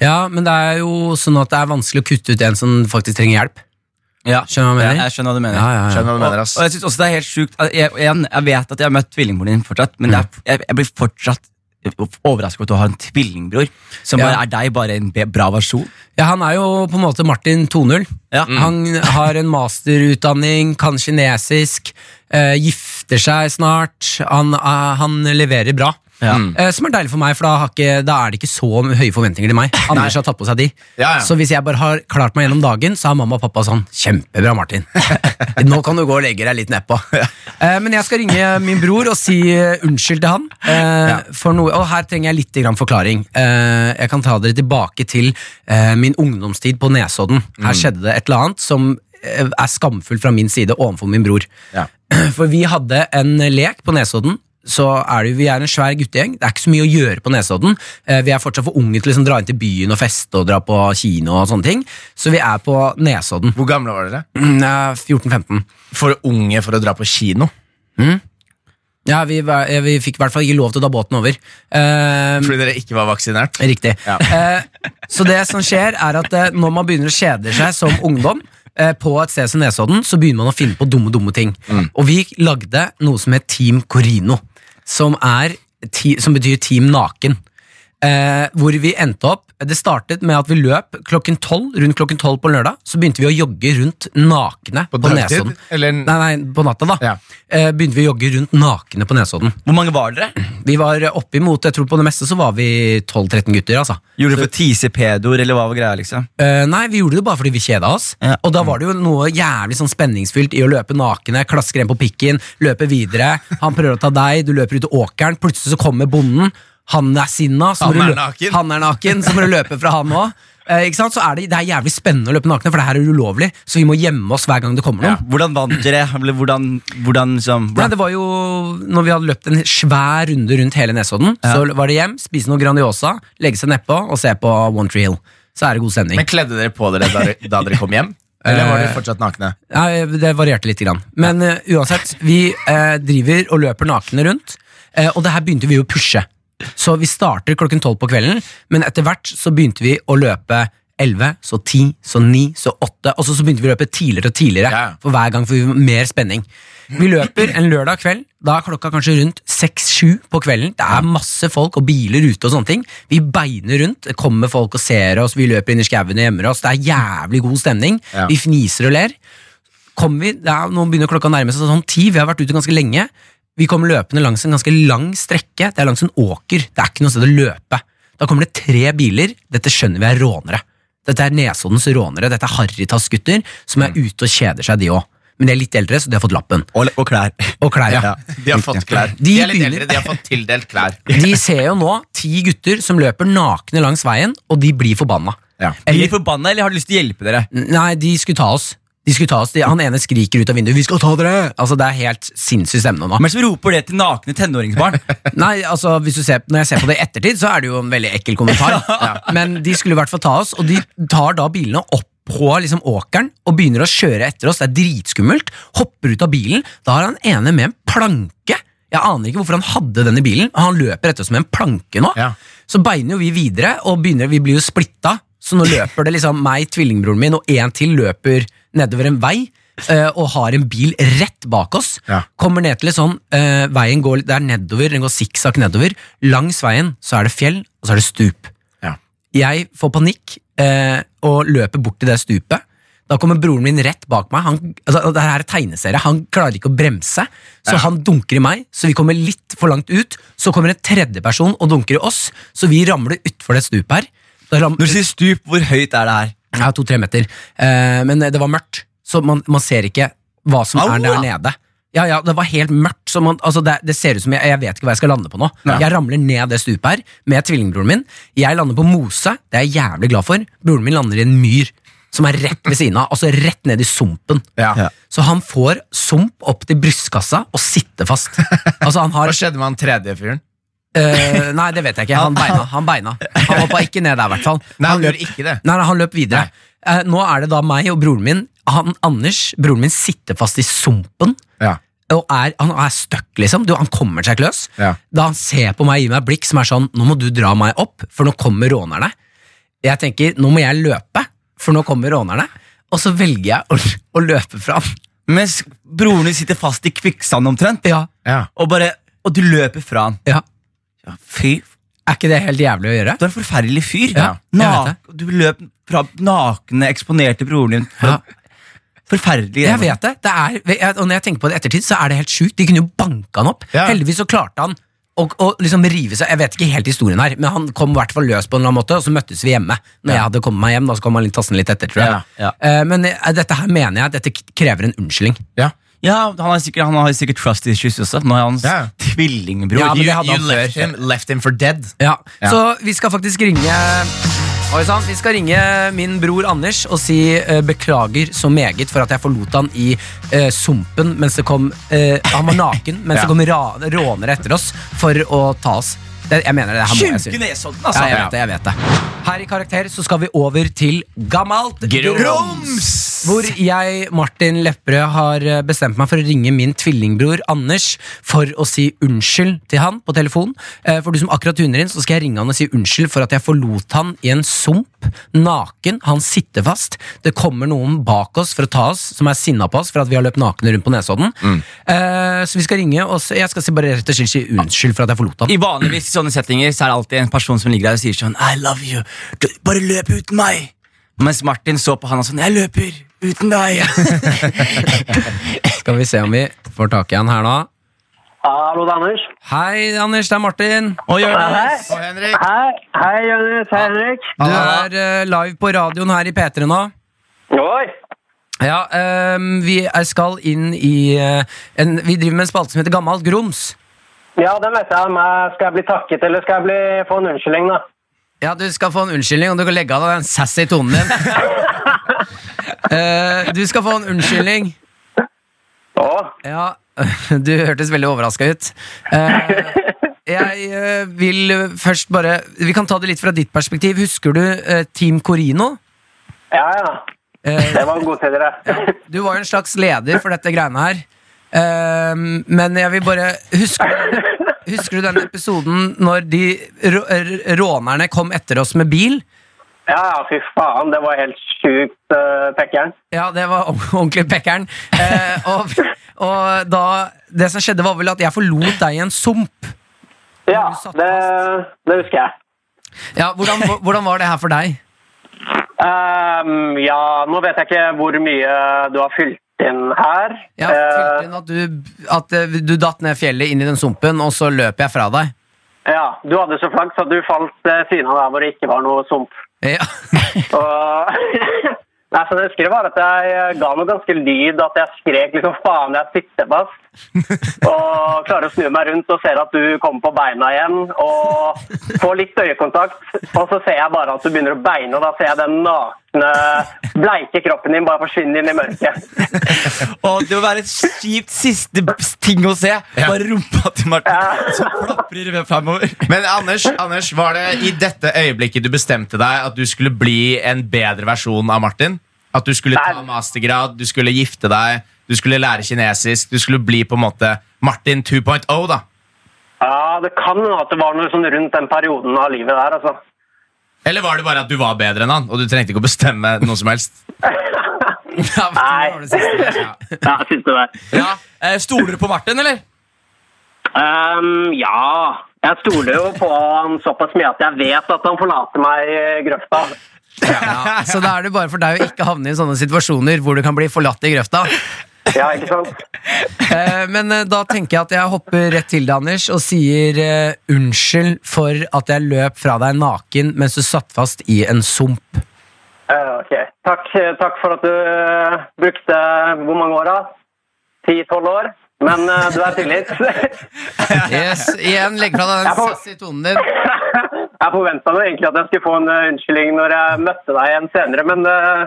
Ja, men det er jo sånn at det er vanskelig å kutte ut en som faktisk trenger hjelp. Ja, Skjønner du hva jeg mener? Jeg skjønner hva du mener. Ja, ja, ja. Skjønner du hva jeg Og, mener, og ass? jeg synes også det er helt sjukt at jeg, og igjen, jeg vet at jeg har møtt tvillingbroren din fortsatt, men det er, jeg, jeg blir fortsatt overrasket over at du har en tvillingbror som Ja. bare er deg, bare en be- bra versjon. Ja, Han er jo på en måte Martin 2.0. Ja. Han har en masterutdanning, kan kinesisk, eh, gifter seg snart. Han, eh, han leverer bra. Ja. Eh, som er deilig for meg, for da, har ikke, da er det ikke så høye forventninger til meg. Anders har tatt på seg de. Ja, ja. Så hvis jeg bare har klart meg gjennom dagen, så er mamma og pappa sånn Kjempebra, Martin. Nå kan du gå og legge deg litt nedpå. Eh, men jeg skal ringe min bror og si eh, unnskyld til han. Eh, for noe, og her trenger jeg litt grann forklaring. Eh, jeg kan ta dere tilbake til eh, min ungdomstid på Nesodden. Her Mm. skjedde det et eller annet som eh, er skamfullt fra min side overfor min bror. Ja. For vi hadde en lek på Nesodden. Så er det, jo- vi er en svær guttegjeng. Det er ikke så mye å gjøre på Nesodden. Eh, Vi er fortsatt for unge til å liksom dra inn til byen og feste og dra på kino. og sånne ting Så vi er på Nesodden. Hvor gamle var dere? Mm, eh, 14-15. For unge for å dra på kino. Ja, vi, var- eh, vi fikk i hvert fall ikke lov til å ta båten over. Eh, Fordi dere ikke var vaksinert. Riktig. Ja. Eh, så det som skjer, er at eh, når man begynner å kjede seg som ungdom, eh, på et sted som Nesodden, så begynner man å finne på dumme, dumme ting. Mm. Og vi lagde noe som het Team Corino, som, er, ti, som betyr Team Naken. Eh, hvor vi endte opp Det startet med at vi løp klokken 12, rundt klokken 12 på lørdag. Så begynte vi å jogge rundt nakne på, dagtid, Nesodden. Eller Nei, nei, på natta, da. Ja. Eh, begynte vi å jogge rundt nakne på Nesodden. Hvor mange var dere? Vi var oppimot, jeg tror på det meste så var vi 12-13 gutter, altså. Gjorde dere for tisepedoer, eller hva var greia? liksom? Eh, nei, vi gjorde det bare fordi vi kjeda oss. Ja. Og da var det jo noe jævlig sånn spenningsfylt i å løpe nakne, klaske en på pikken, løpe videre. Han prøver å ta deg, du løper ut i åkeren, plutselig så kommer bonden. Han er sinna, så må du Han er lø- naken. han er naken, så må du løpe fra han òg. ikke sant? Så er det, det er jævlig spennende å løpe nakne, for det her er ulovlig, så vi må gjemme oss hver gang det kommer noen. Hvordan vant dere? Eller hvordan, hvordan, liksom, Nei, hvordan? det var jo Når vi hadde løpt en svær runde rundt hele Nesodden, så var det hjem, spise noe Grandiosa, legge seg nedpå og se på One Tree Hill. Så er det god stemning. Men kledde dere på dere da, dere- da dere kom hjem? Eller var dere fortsatt nakne? Nei, det varierte litt. Grann. Men eh, uansett, vi eh, driver og løper nakne rundt, eh, og det her begynte vi å pushe. Så vi starter klokken tolv på kvelden, men etter hvert så begynte vi å løpe 11, så 10, så 9, så 8, og så, så begynte vi å løpe tidligere og tidligere. Ja. For hver gang får vi mer spenning. Vi løper en lørdag kveld, da er klokka kanskje rundt 6-7 på kvelden. Det er masse folk og biler ute og sånne ting. Vi beiner rundt, det kommer folk og ser oss, vi løper inn i skauen og gjemmer oss. Det er jævlig god stemning. Ja. Vi fniser og ler kommer vi, det er, nå begynner klokka å nærme seg sånn ti, vi har vært ute ganske lenge. Vi kommer løpende langs en ganske lang strekke. Det er langs en åker. Det er ikke noe sted å løpe. Da kommer det tre biler. Dette skjønner vi er rånere. Dette er Nesoddens rånere. Dette er Haritas-gutter som er ute og kjeder seg, de òg. Men de er litt eldre, så de har fått lappen. Og, og klær. Og klær. Ja, De har fått klær. De De er litt begynner- eldre, de har fått tildelt klær. De ser jo nå ti gutter som løper nakne langs veien, og de blir forbanna. Ja. Blir Eller, de forbanna, eller har de lyst til å hjelpe dere? nei, de skulle ta oss. De skulle ta oss. De, han ene skriker ut av vinduet 'Vi skal ta dere!' Altså, Det er helt sinnssyk stemning nå. Men som roper det til nakne tenåringsbarn. Nei, altså hvis du ser, Når jeg ser på det i ettertid, så er det jo en veldig ekkel kommentar. Men de skulle i hvert fall ta oss, og de tar da bilene opp på liksom åkeren og begynner å kjøre etter oss. Det er dritskummelt. Hopper ut av bilen. Da har han ene med en planke. Jeg aner ikke hvorfor han hadde den i bilen. Han løper etter oss med en planke nå. Ja. Så beiner jo vi videre, og begynner, vi blir jo splitta. Så nå løper det liksom meg, tvillingbroren min og en til løper nedover en vei. eh, og har en bil rett bak oss. Ja. Kommer ned til et sånn eh, Veien går litt- det er nedover, den går sikksakk nedover. Langs veien så er det fjell, og så er det stup. Ja. Jeg får panikk eh, og løper bort til det stupet. Da kommer broren min rett bak meg. Han, altså, og det her er tegneserie. Han klarer ikke å bremse, så han dunker i meg. Så vi kommer litt for langt ut. Så kommer en tredjeperson og dunker i oss, så vi ramler utfor det stupet her. Da ram- Når du sier stup, hvor høyt er det her? ja, to-tre meter. Eh, men det var mørkt, så man, man ser ikke hva som er der Au! nede. Ja, ja, Det var helt mørkt. Så man, altså det, det ser ut som jeg, jeg vet ikke hva jeg skal lande på nå. Jeg ramler ned det stupet her med tvillingbroren min. Jeg lander på mose, det er jeg jævlig glad for. Broren min lander i en myr som er rett ved siden av. Altså rett ned i sumpen. Ja. Ja. Så han får sump opp til brystkassa og sitter fast. Altså han Hva har skjedde med han tredje fyren? eh, Nei, det vet jeg ikke. Han beina. Han beina Han hoppa ikke ned der, i hvert fall. Nei, han løp- gjorde ikke det. Nei, nei, han løp videre. Eh, nå er det da meg og broren min. Han, Anders, broren min, sitter fast i sumpen. Ja. Og er, han er stuck, liksom. Du, han kommer seg ikke løs. Ja. Da han ser på meg, gir meg et blikk som er sånn Nå må du dra meg opp, for nå kommer rånerne. Jeg tenker, nå må jeg løpe, for nå kommer rånerne. Og så velger jeg å, å løpe fra han. Mens broren din sitter fast i kvikksand omtrent, Ja, Ja. og, bare, og du løper fra han. ja. Ja, fy, Er ikke det helt jævlig å gjøre? du er en forferdelig fyr. Ja, jeg vet Nak- du løp fra nakne, eksponerte broren din. Ja. Forferdelig. Jeg vet det. det er, jeg- og når jeg tenker på det i ettertid, så er det helt sjukt. De kunne jo banka han opp. Ja. Heldigvis så klarte han å, å liksom rive seg Jeg vet ikke helt historien her, men han kom i hvert fall løs på en eller annen måte, og så møttes vi hjemme. Når jeg hadde kommet meg hjem, da så kom han litt tassende litt etter, tror jeg. Ja, Eh, Men eh, dette her mener jeg, dette k- krever en unnskyldning. Ja. Ja, han har sikkert, han har sikkert trust issues også. Nå er hans Ja. tvillingbror. Ja, men det hadde You han left før. him, left him for dead. Ja. Ja. Så vi skal faktisk ringe Oi sann. Vi skal ringe min bror Anders og si eh, beklager så meget for at jeg forlot han i eh, sumpen mens det kom eh, Han var naken mens Ja. det kom ra rånere etter oss for å ta oss. Det, jeg mener det, det her må jeg si. Sjuke nesodden, altså! Ja, jeg vet det, jeg vet det. Her i Karakter så skal vi over til gammelt grums! Hvor jeg, Martin Lepperød, har eh, bestemt meg for å ringe min tvillingbror Anders for å si unnskyld til han på telefon. Eh, For du som akkurat tuner inn, så skal jeg ringe han og si unnskyld for at jeg forlot han i en sump, naken. Han sitter fast. Det kommer noen bak oss for å ta oss, som er sinna på oss for at vi har løpt nakne rundt på Nesodden. Eh, Så vi skal ringe, og så- jeg skal si bare rett og slett si unnskyld for at jeg forlot han. I vanligvis i sånne settinger så er det alltid en person som ligger der og sier sånn I love you, du, bare løp uten meg Mens Martin så på han og sånn Jeg løper uten deg Skal vi se om vi får tak i han her nå. Hallo, det er Anders. Hei, Anders. Det er Martin. Og gjør det Hei, Og Henrik. hei, hei, Jonas. Hei, Henrik. Du er eh, live på radioen her i P3 nå. Oi. Ja, ehm, vi er- skal inn i eh, en, Vi driver med en spalte som heter Gammalt grums. Ja, den vet jeg. Men skal jeg bli takket, eller skal jeg bli, få en unnskyldning, da? Ja, du skal få en unnskyldning, og du kan legge av deg den sassy tonen din. Eh, du skal få en unnskyldning. Å, Ja, du hørtes veldig overraska ut. Eh, jeg eh, vil først bare Vi kan ta det litt fra ditt perspektiv. Husker du eh, Team Corino? ja, ja. Eh, Det var en god tid, dere. Du var jo en slags leder for dette greiene her. Ehm, men jeg vil bare Husker du, husker du den episoden når de rå- r- rånerne kom etter oss med bil? Ja, ja, fy faen. Det var helt sjukt, uh, pekkeren. Ja, det var ord- ordentlig pekkeren. Eh, og, og da Det som skjedde, var vel at jeg forlot deg i en sump. Ja, Du satt det, det husker jeg. Ja, hvordan, hvordan var det her for deg? Ehm, ja, nå vet jeg ikke hvor mye du har fylt inn her. Jeg følte Eh, inn at du, at eh, du datt ned fjellet, inn i den sumpen, og så løp jeg fra deg. Eh, ja, du hadde så flaks at du falt eh, siden av der hvor det ikke var noe sump. Ja. Og Nei, så det jeg husker det var at jeg ga meg ganske lyd, at jeg skrek liksom 'faen, jeg sitter fast'. Og klarer å snu meg rundt og ser at du kommer på beina igjen. Og får litt øyekontakt, og så ser jeg bare at du begynner å beine, og da ser jeg den nakne, bleike kroppen din bare forsvinne inn i mørket. Og det må være et kjipt siste ting å se Bare rumpa til Martin Ja. Som flapper ved fremover Men Anders, Anders, var det i dette øyeblikket du bestemte deg at du skulle bli en bedre versjon av Martin? At du skulle ta Nei. mastergrad, du skulle gifte deg, du skulle lære kinesisk, du skulle bli på en måte Martin 2.0, da? Ja, det kan hende at det var noe sånn rundt den perioden av livet der, altså. Eller var det bare at du var bedre enn han, og du trengte ikke å bestemme noe som helst? Ja, vet du, det var det siste. Ja, siste vei. Ja. Eh, Stoler du på Martin, eller? Ehm, ja. Jeg stoler jo på han såpass mye at jeg vet at han forlater meg i grøfta. Ja, så da er det bare for deg å ikke havne i sånne situasjoner hvor du kan bli forlatt i grøfta. Ja, ikke sant? Eh, Men eh, da tenker jeg at jeg hopper rett til deg, Anders, og sier eh, unnskyld for at jeg løp fra deg naken mens du satt fast i en sump. Eh, ok. Takk, takk for at du eh, brukte Hvor mange år, da? 10-12 år? Men eh, du er tilgitt. Yes, igjen, legg fra deg Jeg den får- sassy tonen din. jeg forventa egentlig at jeg skulle få en eh, unnskyldning når jeg møtte deg igjen senere, men eh,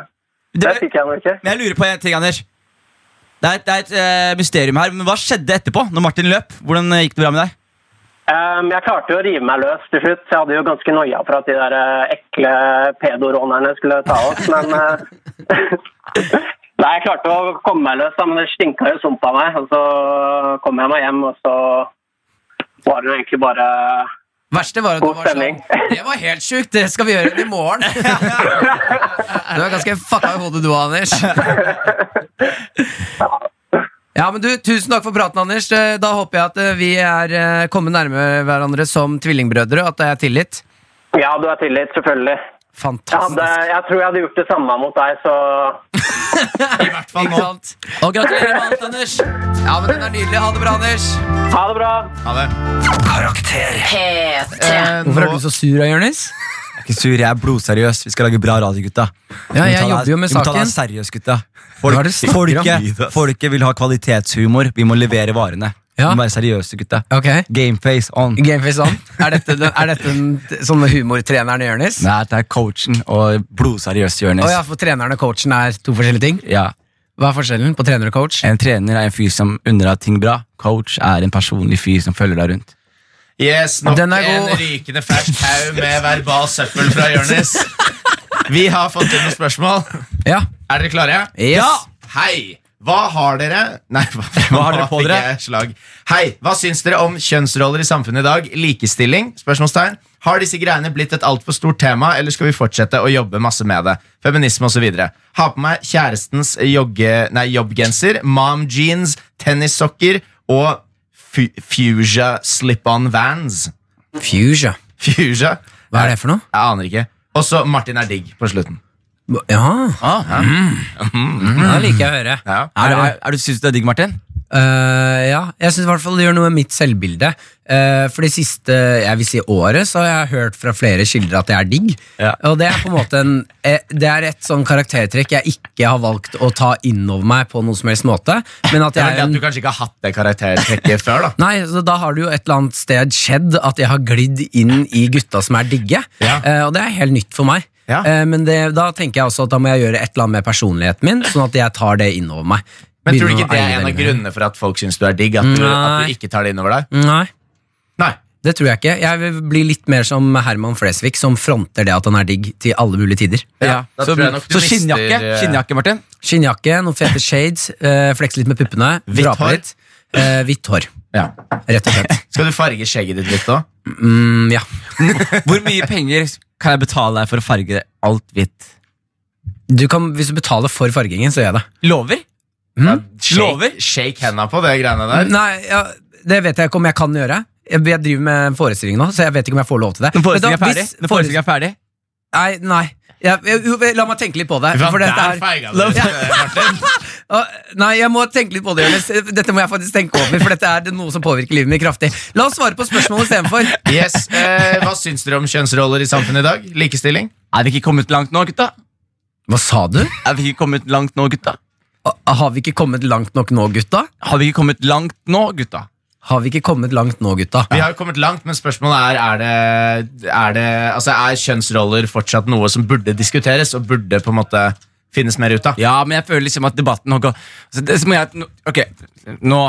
det Det, fikk jeg nå ikke. men jeg lurer på en ting, Anders. Det er, et- det er et eh, mysterium her, men Hva skjedde etterpå, når Martin løp? Hvordan eh, gikk det bra med deg? Ehm, jeg klarte jo å rive meg løs til slutt. Jeg hadde jo ganske noia for at de der eh, ekle pedorånerne skulle ta oss, men eh, Nei, jeg klarte å komme meg løs, da, men det stinka jo sump av meg. Og så kom jeg meg hjem, og så var det jo egentlig bare Verste var at du God var sånn stemning. Det var helt sjukt, det skal vi gjøre i morgen. Du er ganske fucka i hodet du, Anders. Ja, men du, Tusen takk for praten, Anders. Eh, Da håper jeg at eh, vi er eh, kommet nærme hverandre som tvillingbrødre, og at det er tillit. Ja, du er tilgitt, selvfølgelig. Jeg, hadde, Fantastisk. jeg tror jeg hadde gjort det samme mot deg, så Ikke sant? Og gratulerer med alt, Anders. Ja, men den er nydelig. Ha det bra, Anders. ha det bra! Ha det. Karakter. P3. Eh, Hvorfor er nå- du så sur, Jonis? Jeg er ikke sur, jeg er blodseriøs. Vi skal lage bra radio, gutta. Vi Ja, må jeg ta det- jobber jo med vi må ta det saken. seriøst, gutta. Hva er det Folk, du snakker folket, folket vil ha kvalitetshumor. Vi må levere varene. Ja. Vi må være seriøse, gutta. Ok. Gameface on. Gameface on. Er dette, den, er dette den, t- sånne humortreneren Jonis? Å Nei, det er coachen og blodseriøs, Jonis. ja, for treneren og coachen er to forskjellige ting? ja. Hva er forskjellen på trener og coach? En trener er en fyr som unner deg ting bra. Coach er en personlig fyr som følger deg rundt. Yes, nok Den er en god. rykende fersk haug med verbal søppel fra Jonis. Vi har fått inn noen spørsmål. Ja. Er dere klare? Yes. Ja. Hei! Hva har dere Nei, hva, Hva har dere på fikk dere? jeg Slag. Hei, hva syns dere om kjønnsroller i samfunnet i dag? Likestilling? Spørsmålstegn. Har disse greiene blitt et altfor stort tema, eller skal vi fortsette å jobbe masse med det? Feminisme osv. Ha på meg kjærestens jogge, nei, jobbgenser, mom jeans, tennissokker og fu fuchsia slip-on vans. Fuge. Fuchsia? Hva er det for noe? Jeg aner ikke. Og så Martin er digg på slutten. Ah, Ja, Mm. det liker jeg å høre. Ja. Er, du- er, er du synes du er digg, Martin? Eh, ja, jeg syns i hvert fall det gjør noe med mitt selvbilde. Eh, for det siste jeg vil si året så har jeg hørt fra flere kilder at jeg er digg. Ja. Og det er på en måte en, eh, Det er et sånn karaktertrekk jeg ikke har valgt å ta innover meg på noen som helst måte. Men at Det jeg er vel det er at en du kanskje ikke har hatt det karaktertrekket før, da. Nei, så Da har det jo et eller annet sted skjedd at jeg har glidd inn i gutta som er digge. Ja. Eh, og det er helt nytt for meg. Ja. Eh, men det, da tenker jeg også at da må jeg gjøre et eller annet med personligheten min, sånn at jeg tar det innover meg. Men tror du Begynne ikke å det eie er en av mer. grunnene for at folk syns du er digg? At du, at Nei. du ikke tar det innover deg? Nei, Nei. det tror jeg ikke. Jeg vil bli litt mer som Herman Flesvig, som fronter det at han er digg til alle mulige tider. Ja, da Så, tror jeg nok du så skinnjakke, mister, eh, skinnjakke, Martin. Skinnjakke, noen fete shades, eh, flekse litt med puppene, Hvitt dra på hår? litt. Eh, hvitt hår, Ja. rett og slett. Skal du farge skjegget ditt litt òg? Mm, ja. Hvor mye penger kan jeg betale deg for å farge alt hvitt? du kan, hvis du betaler for fargingen, så gjør jeg det. Mm. Lover? Lover? Shake, shake henda på det greiene der. Hm? Eh, Nei, ja, det vet jeg ikke om jeg kan gjøre. Jeg, jeg driver med en forestilling nå, så jeg vet ikke om jeg får lov til det. Når Men da, forestillingen er ferdig? hvis Når forestillingen er ferdig? Nei, nei. Jeg, jeg, jo, la meg tenke litt på det. Hva, For dette der er, feiga du, eh, Martin. Å, nei, jeg må tenke litt på det, Jonas. Dette må jeg faktisk tenke over, for dette er noe som påvirker livet mitt kraftig. La oss svare på spørsmålet istedenfor. Yes, eh, Hva syns dere om kjønnsroller i samfunnet i dag? Likestilling? Er vi ikke kommet langt nå, gutta? Hva sa du? Er vi ikke kommet langt nå, gutta? Har vi ikke kommet langt nok nå, gutta? Har vi ikke kommet langt nå, gutta? Har vi ikke kommet langt nå, gutta? Vi har jo kommet langt, men spørsmålet er er det, er det altså er kjønnsroller fortsatt noe som burde diskuteres og burde på en måte finnes mer ut av? Ja, men jeg føler liksom at debatten har gått altså, det, så må jeg, nå- Ok, nå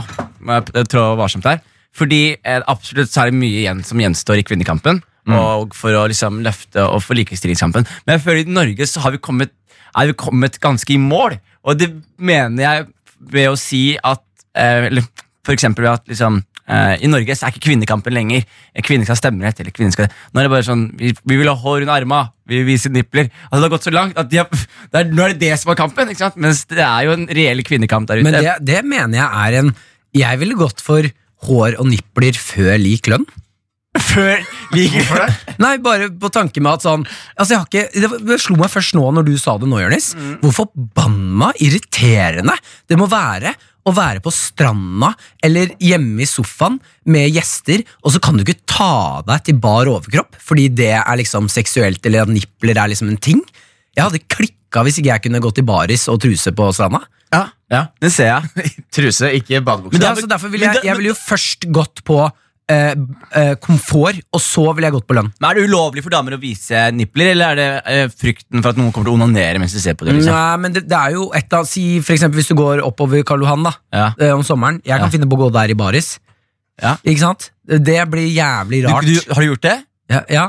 må jeg p- trå varsomt her. Fordi eh, absolutt så er det mye igjen som gjenstår i kvinnekampen. Og for å liksom løfte og for likestillingskampen. Men jeg føler i Norge så har vi kommet, er vi kommet ganske i mål. Og det mener jeg ved å si at eh, Eller for eksempel ved at liksom eh, I Norge så er ikke kvinnekampen lenger. Eh, Kvinner skal ha stemmerett. eller kvinner skal... Nå er det bare sånn Vi, vi vil ha hår under arma, vi vil vise nipler. Altså, det har gått så langt at de har, det er, nå er det det som er kampen. ikke sant? Mens det er jo en reell kvinnekamp der ute. Men det, det mener jeg er en Jeg ville gått for hår og nipler før lik lønn. Før vi Hvorfor det? Nei, bare på tanke med at sånn Altså, jeg har ikke Det, var- det slo meg først nå når du sa det nå, Jonis. Mm. Hvor forbanna irriterende det må være å være på stranda eller hjemme i sofaen med gjester, og så kan du ikke ta av deg til bar overkropp fordi det er liksom seksuelt, eller at nipler er liksom en ting. Jeg hadde klikka hvis ikke jeg kunne gått i baris og truse på stranda. Ja, Ja. det ser jeg. Truse, ikke badebukse. Men det, er altså, derfor ville men jeg, det- jeg ville jo først gått på eh, eh, komfort, og så ville jeg gått på lønn. Men Er det ulovlig for damer å vise nipler, eller er det eh, frykten for at noen kommer til å onanere mens de ser på det? liksom? Nei, men det, det er jo et av Si for eksempel hvis du går oppover Karl Johan da Ja. eh, om sommeren. Jeg kan Ja. finne på å gå der i baris. Ja. Ikke sant? Det blir jævlig Du, rart. du, har du gjort det? ja, ja.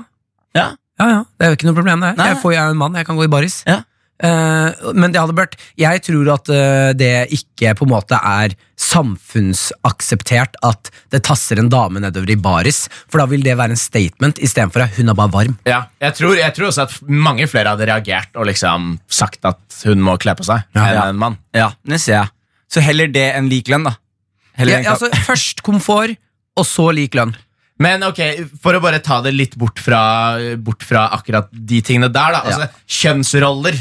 Ja. ja, ja. Det er jo ikke noe problem, det. Nei, Jeg nei. får jeg er jo en mann, jeg kan gå i baris. Ja. Eh, men det hadde vært Jeg tror at eh, det ikke på en måte er samfunnsakseptert at det tasser en dame nedover i baris, for da vil det være en statement istedenfor at hun er bare varm. Ja, jeg tror, jeg tror også at mange flere hadde reagert og liksom sagt at hun må kle på seg, enn Ja. en mann. Ja, det ser jeg. Så heller det enn lik lønn, da. Heller Ja, enn- altså, først komfort, og så lik lønn. Men ok, for å bare ta det litt bort fra, bort fra akkurat de tingene der, da. Altså, Kjønnsroller.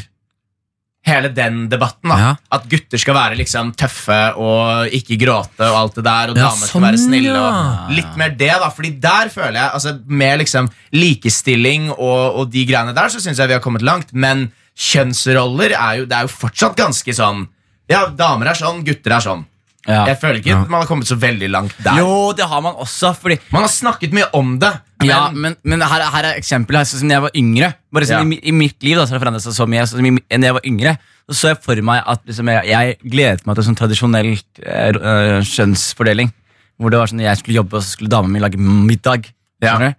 Hele den debatten. da Ja. At gutter skal være liksom tøffe og ikke gråte og alt det der. Og Ja, damer sånn, skal være snille. ja. Og litt mer det, da. Fordi der føler jeg altså Med liksom likestilling og, og de greiene der, så syns jeg vi har kommet langt. Men kjønnsroller er jo, det er jo fortsatt ganske sånn Ja, damer er sånn, gutter er sånn. Ja. Jeg føler ikke man har kommet så veldig langt altså- der. Jo, det har man også, fordi Man har snakket mye om det. ja, men, men her, er- her er eksempelet her, sånn som da jeg var yngre. Bare sånn, Ja. i, mi- I mitt liv da, så har det forandret seg så mye. Sånn som i, mi- enn jeg var yngre, så så jeg for meg at liksom, jeg, jeg gledet meg til sånn tradisjonell eh, ro- eh, kjønnsfordeling. Hvor det var sånn jeg skulle jobbe, og så skulle dama mi lage middag. Ja. Skjønner du?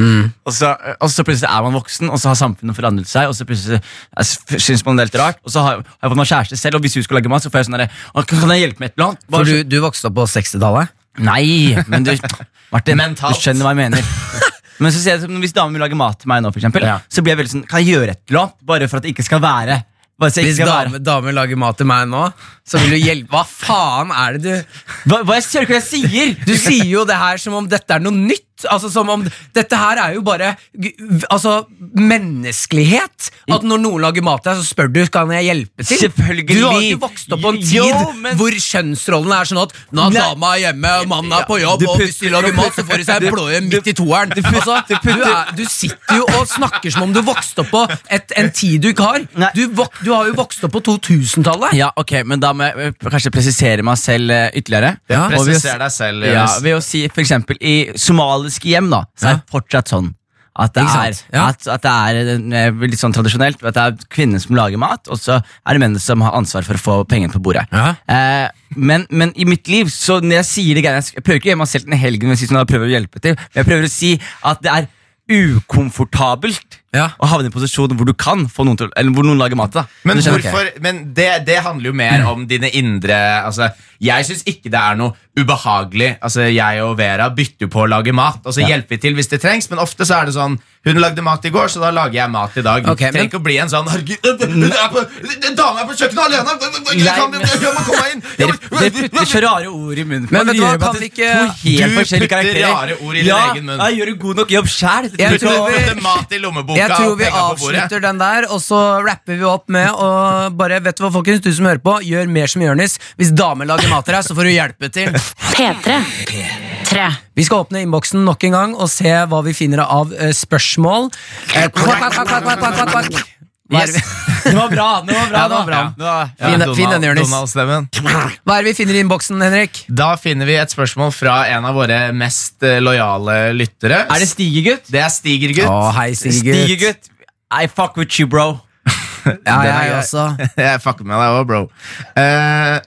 Mm. Og, så, eh, og så plutselig er man voksen, og så har samfunnet forandret seg. Og så plutselig jeg s- synes man det er litt rart Og så har, har jeg fått meg kjæreste selv, og hvis hun skal lage mat, så får jeg sånn derre «Å, Kan jeg hjelpe med et eller annet? Bare For du, du vokste opp på 60-tallet? Nei, men du Martin, Mentalt. du skjønner hva jeg mener. Men så sier jeg, sånn, Hvis damen vil lage mat til meg nå, for eksempel, Ja. så blir jeg veldig sånn Kan jeg gjøre et eller annet? Bare for at det ikke skal være bare så jeg Hvis ikke skal dame, være. damer lager mat til meg nå, så vil du hjelpe Hva faen er det du Hva, hva jeg sier, hva jeg sier? Du sier jo det her som om dette er noe nytt. Altså som om Dette her er jo bare g- altså, menneskelighet. At når noen lager mat til deg, så spør du kan jeg hjelpe til. Selvfølgelig. Du har ikke vokst opp på en tid Jo, men- hvor kjønnsrollen er sånn at nå er Nei. dama hjemme, og mannen er på Ja, jobb, du og putter- hvis de lager mat, så får de seg en blåe midt i toeren. Altså, du, er, du sitter jo og snakker som om du vokste opp på et, en tid du ikke har. Nei. Du, vok, du har jo vokst opp på 2000-tallet. Ja, ok, men da må jeg eh, kanskje presisere meg selv eh, ytterligere. Ja. Og ved å Presiser deg selv. Ja, Jonas. ved å si for eksempel I somaliske hjem da Så er det fortsatt sånn at det, Ikke er, sant? Ja. at, at det er eh, litt sånn tradisjonelt At det er kvinnen som lager mat Og så er det mennene som har ansvar for å få pengene på bordet Ja. eh, men, men i mitt liv Så når jeg sier det greiene Jeg sk- jeg prøver ikke å gjøre meg selv til en helgen Men jeg, sier sånn, jeg prøver å hjelpe til Men jeg prøver å si at det er ukomfortabelt Ja. Å havne i en posisjon hvor du kan få noen til Eller hvor noen lager mat da Men, Du skjønner? hvorfor, men det, det handler jo mer om dine indre altså, Jeg syns ikke det er noe ubehagelig. Altså, jeg og Vera bytter på å lage mat, og så hjelper vi til hvis det trengs. Men ofte så er det sånn Hun lagde mat i går, så da lager jeg mat i dag. Ok, men- Trenger ikke å bli en sånn Herregud, hun er på- den dama er på kjøkkenet alene! Jeg kan- jeg må komme inn! Dere, dere putter så rare ord i munnen på Men vet meg. du hva, kan Det gjør meg til vi ikke- to helt Du forskjellige putter karakterer. rare ord i din ja, egen munn. Jeg gjør en god nok jobb sjæl. Jeg Du tror vi- putter mat i lommeboka Jeg tror og vi penger på bordet. avslutter den der, og så rapper vi opp med og bare Vet du hva, folkens, du som hører på, gjør mer som Jonis. Hvis damer lager mat til deg, så får du hjelpe til. P3. P3. Vi skal åpne innboksen nok en gang og se hva vi finner av eh, spørsmål. Eh, kvakk, kvakk, kvakk, kvakk, kvakk, kvakk, kvakk. Hva er det vi- Det var bra. Det var bra, Ja, det var da. bra. det var- Fin- fin den, Jonis. Donald-stemmen. Hva er det vi finner i innboksen, Henrik? Da finner vi et spørsmål fra en av våre mest eh, lojale lyttere. Er det Stigegutt? Det er Stigergutt. Å, hei, Sigurd. Stigegutt. I fuck with you, bro. Ja, Den er jeg grei. også. Jeg fucker med deg òg, bro. Eh,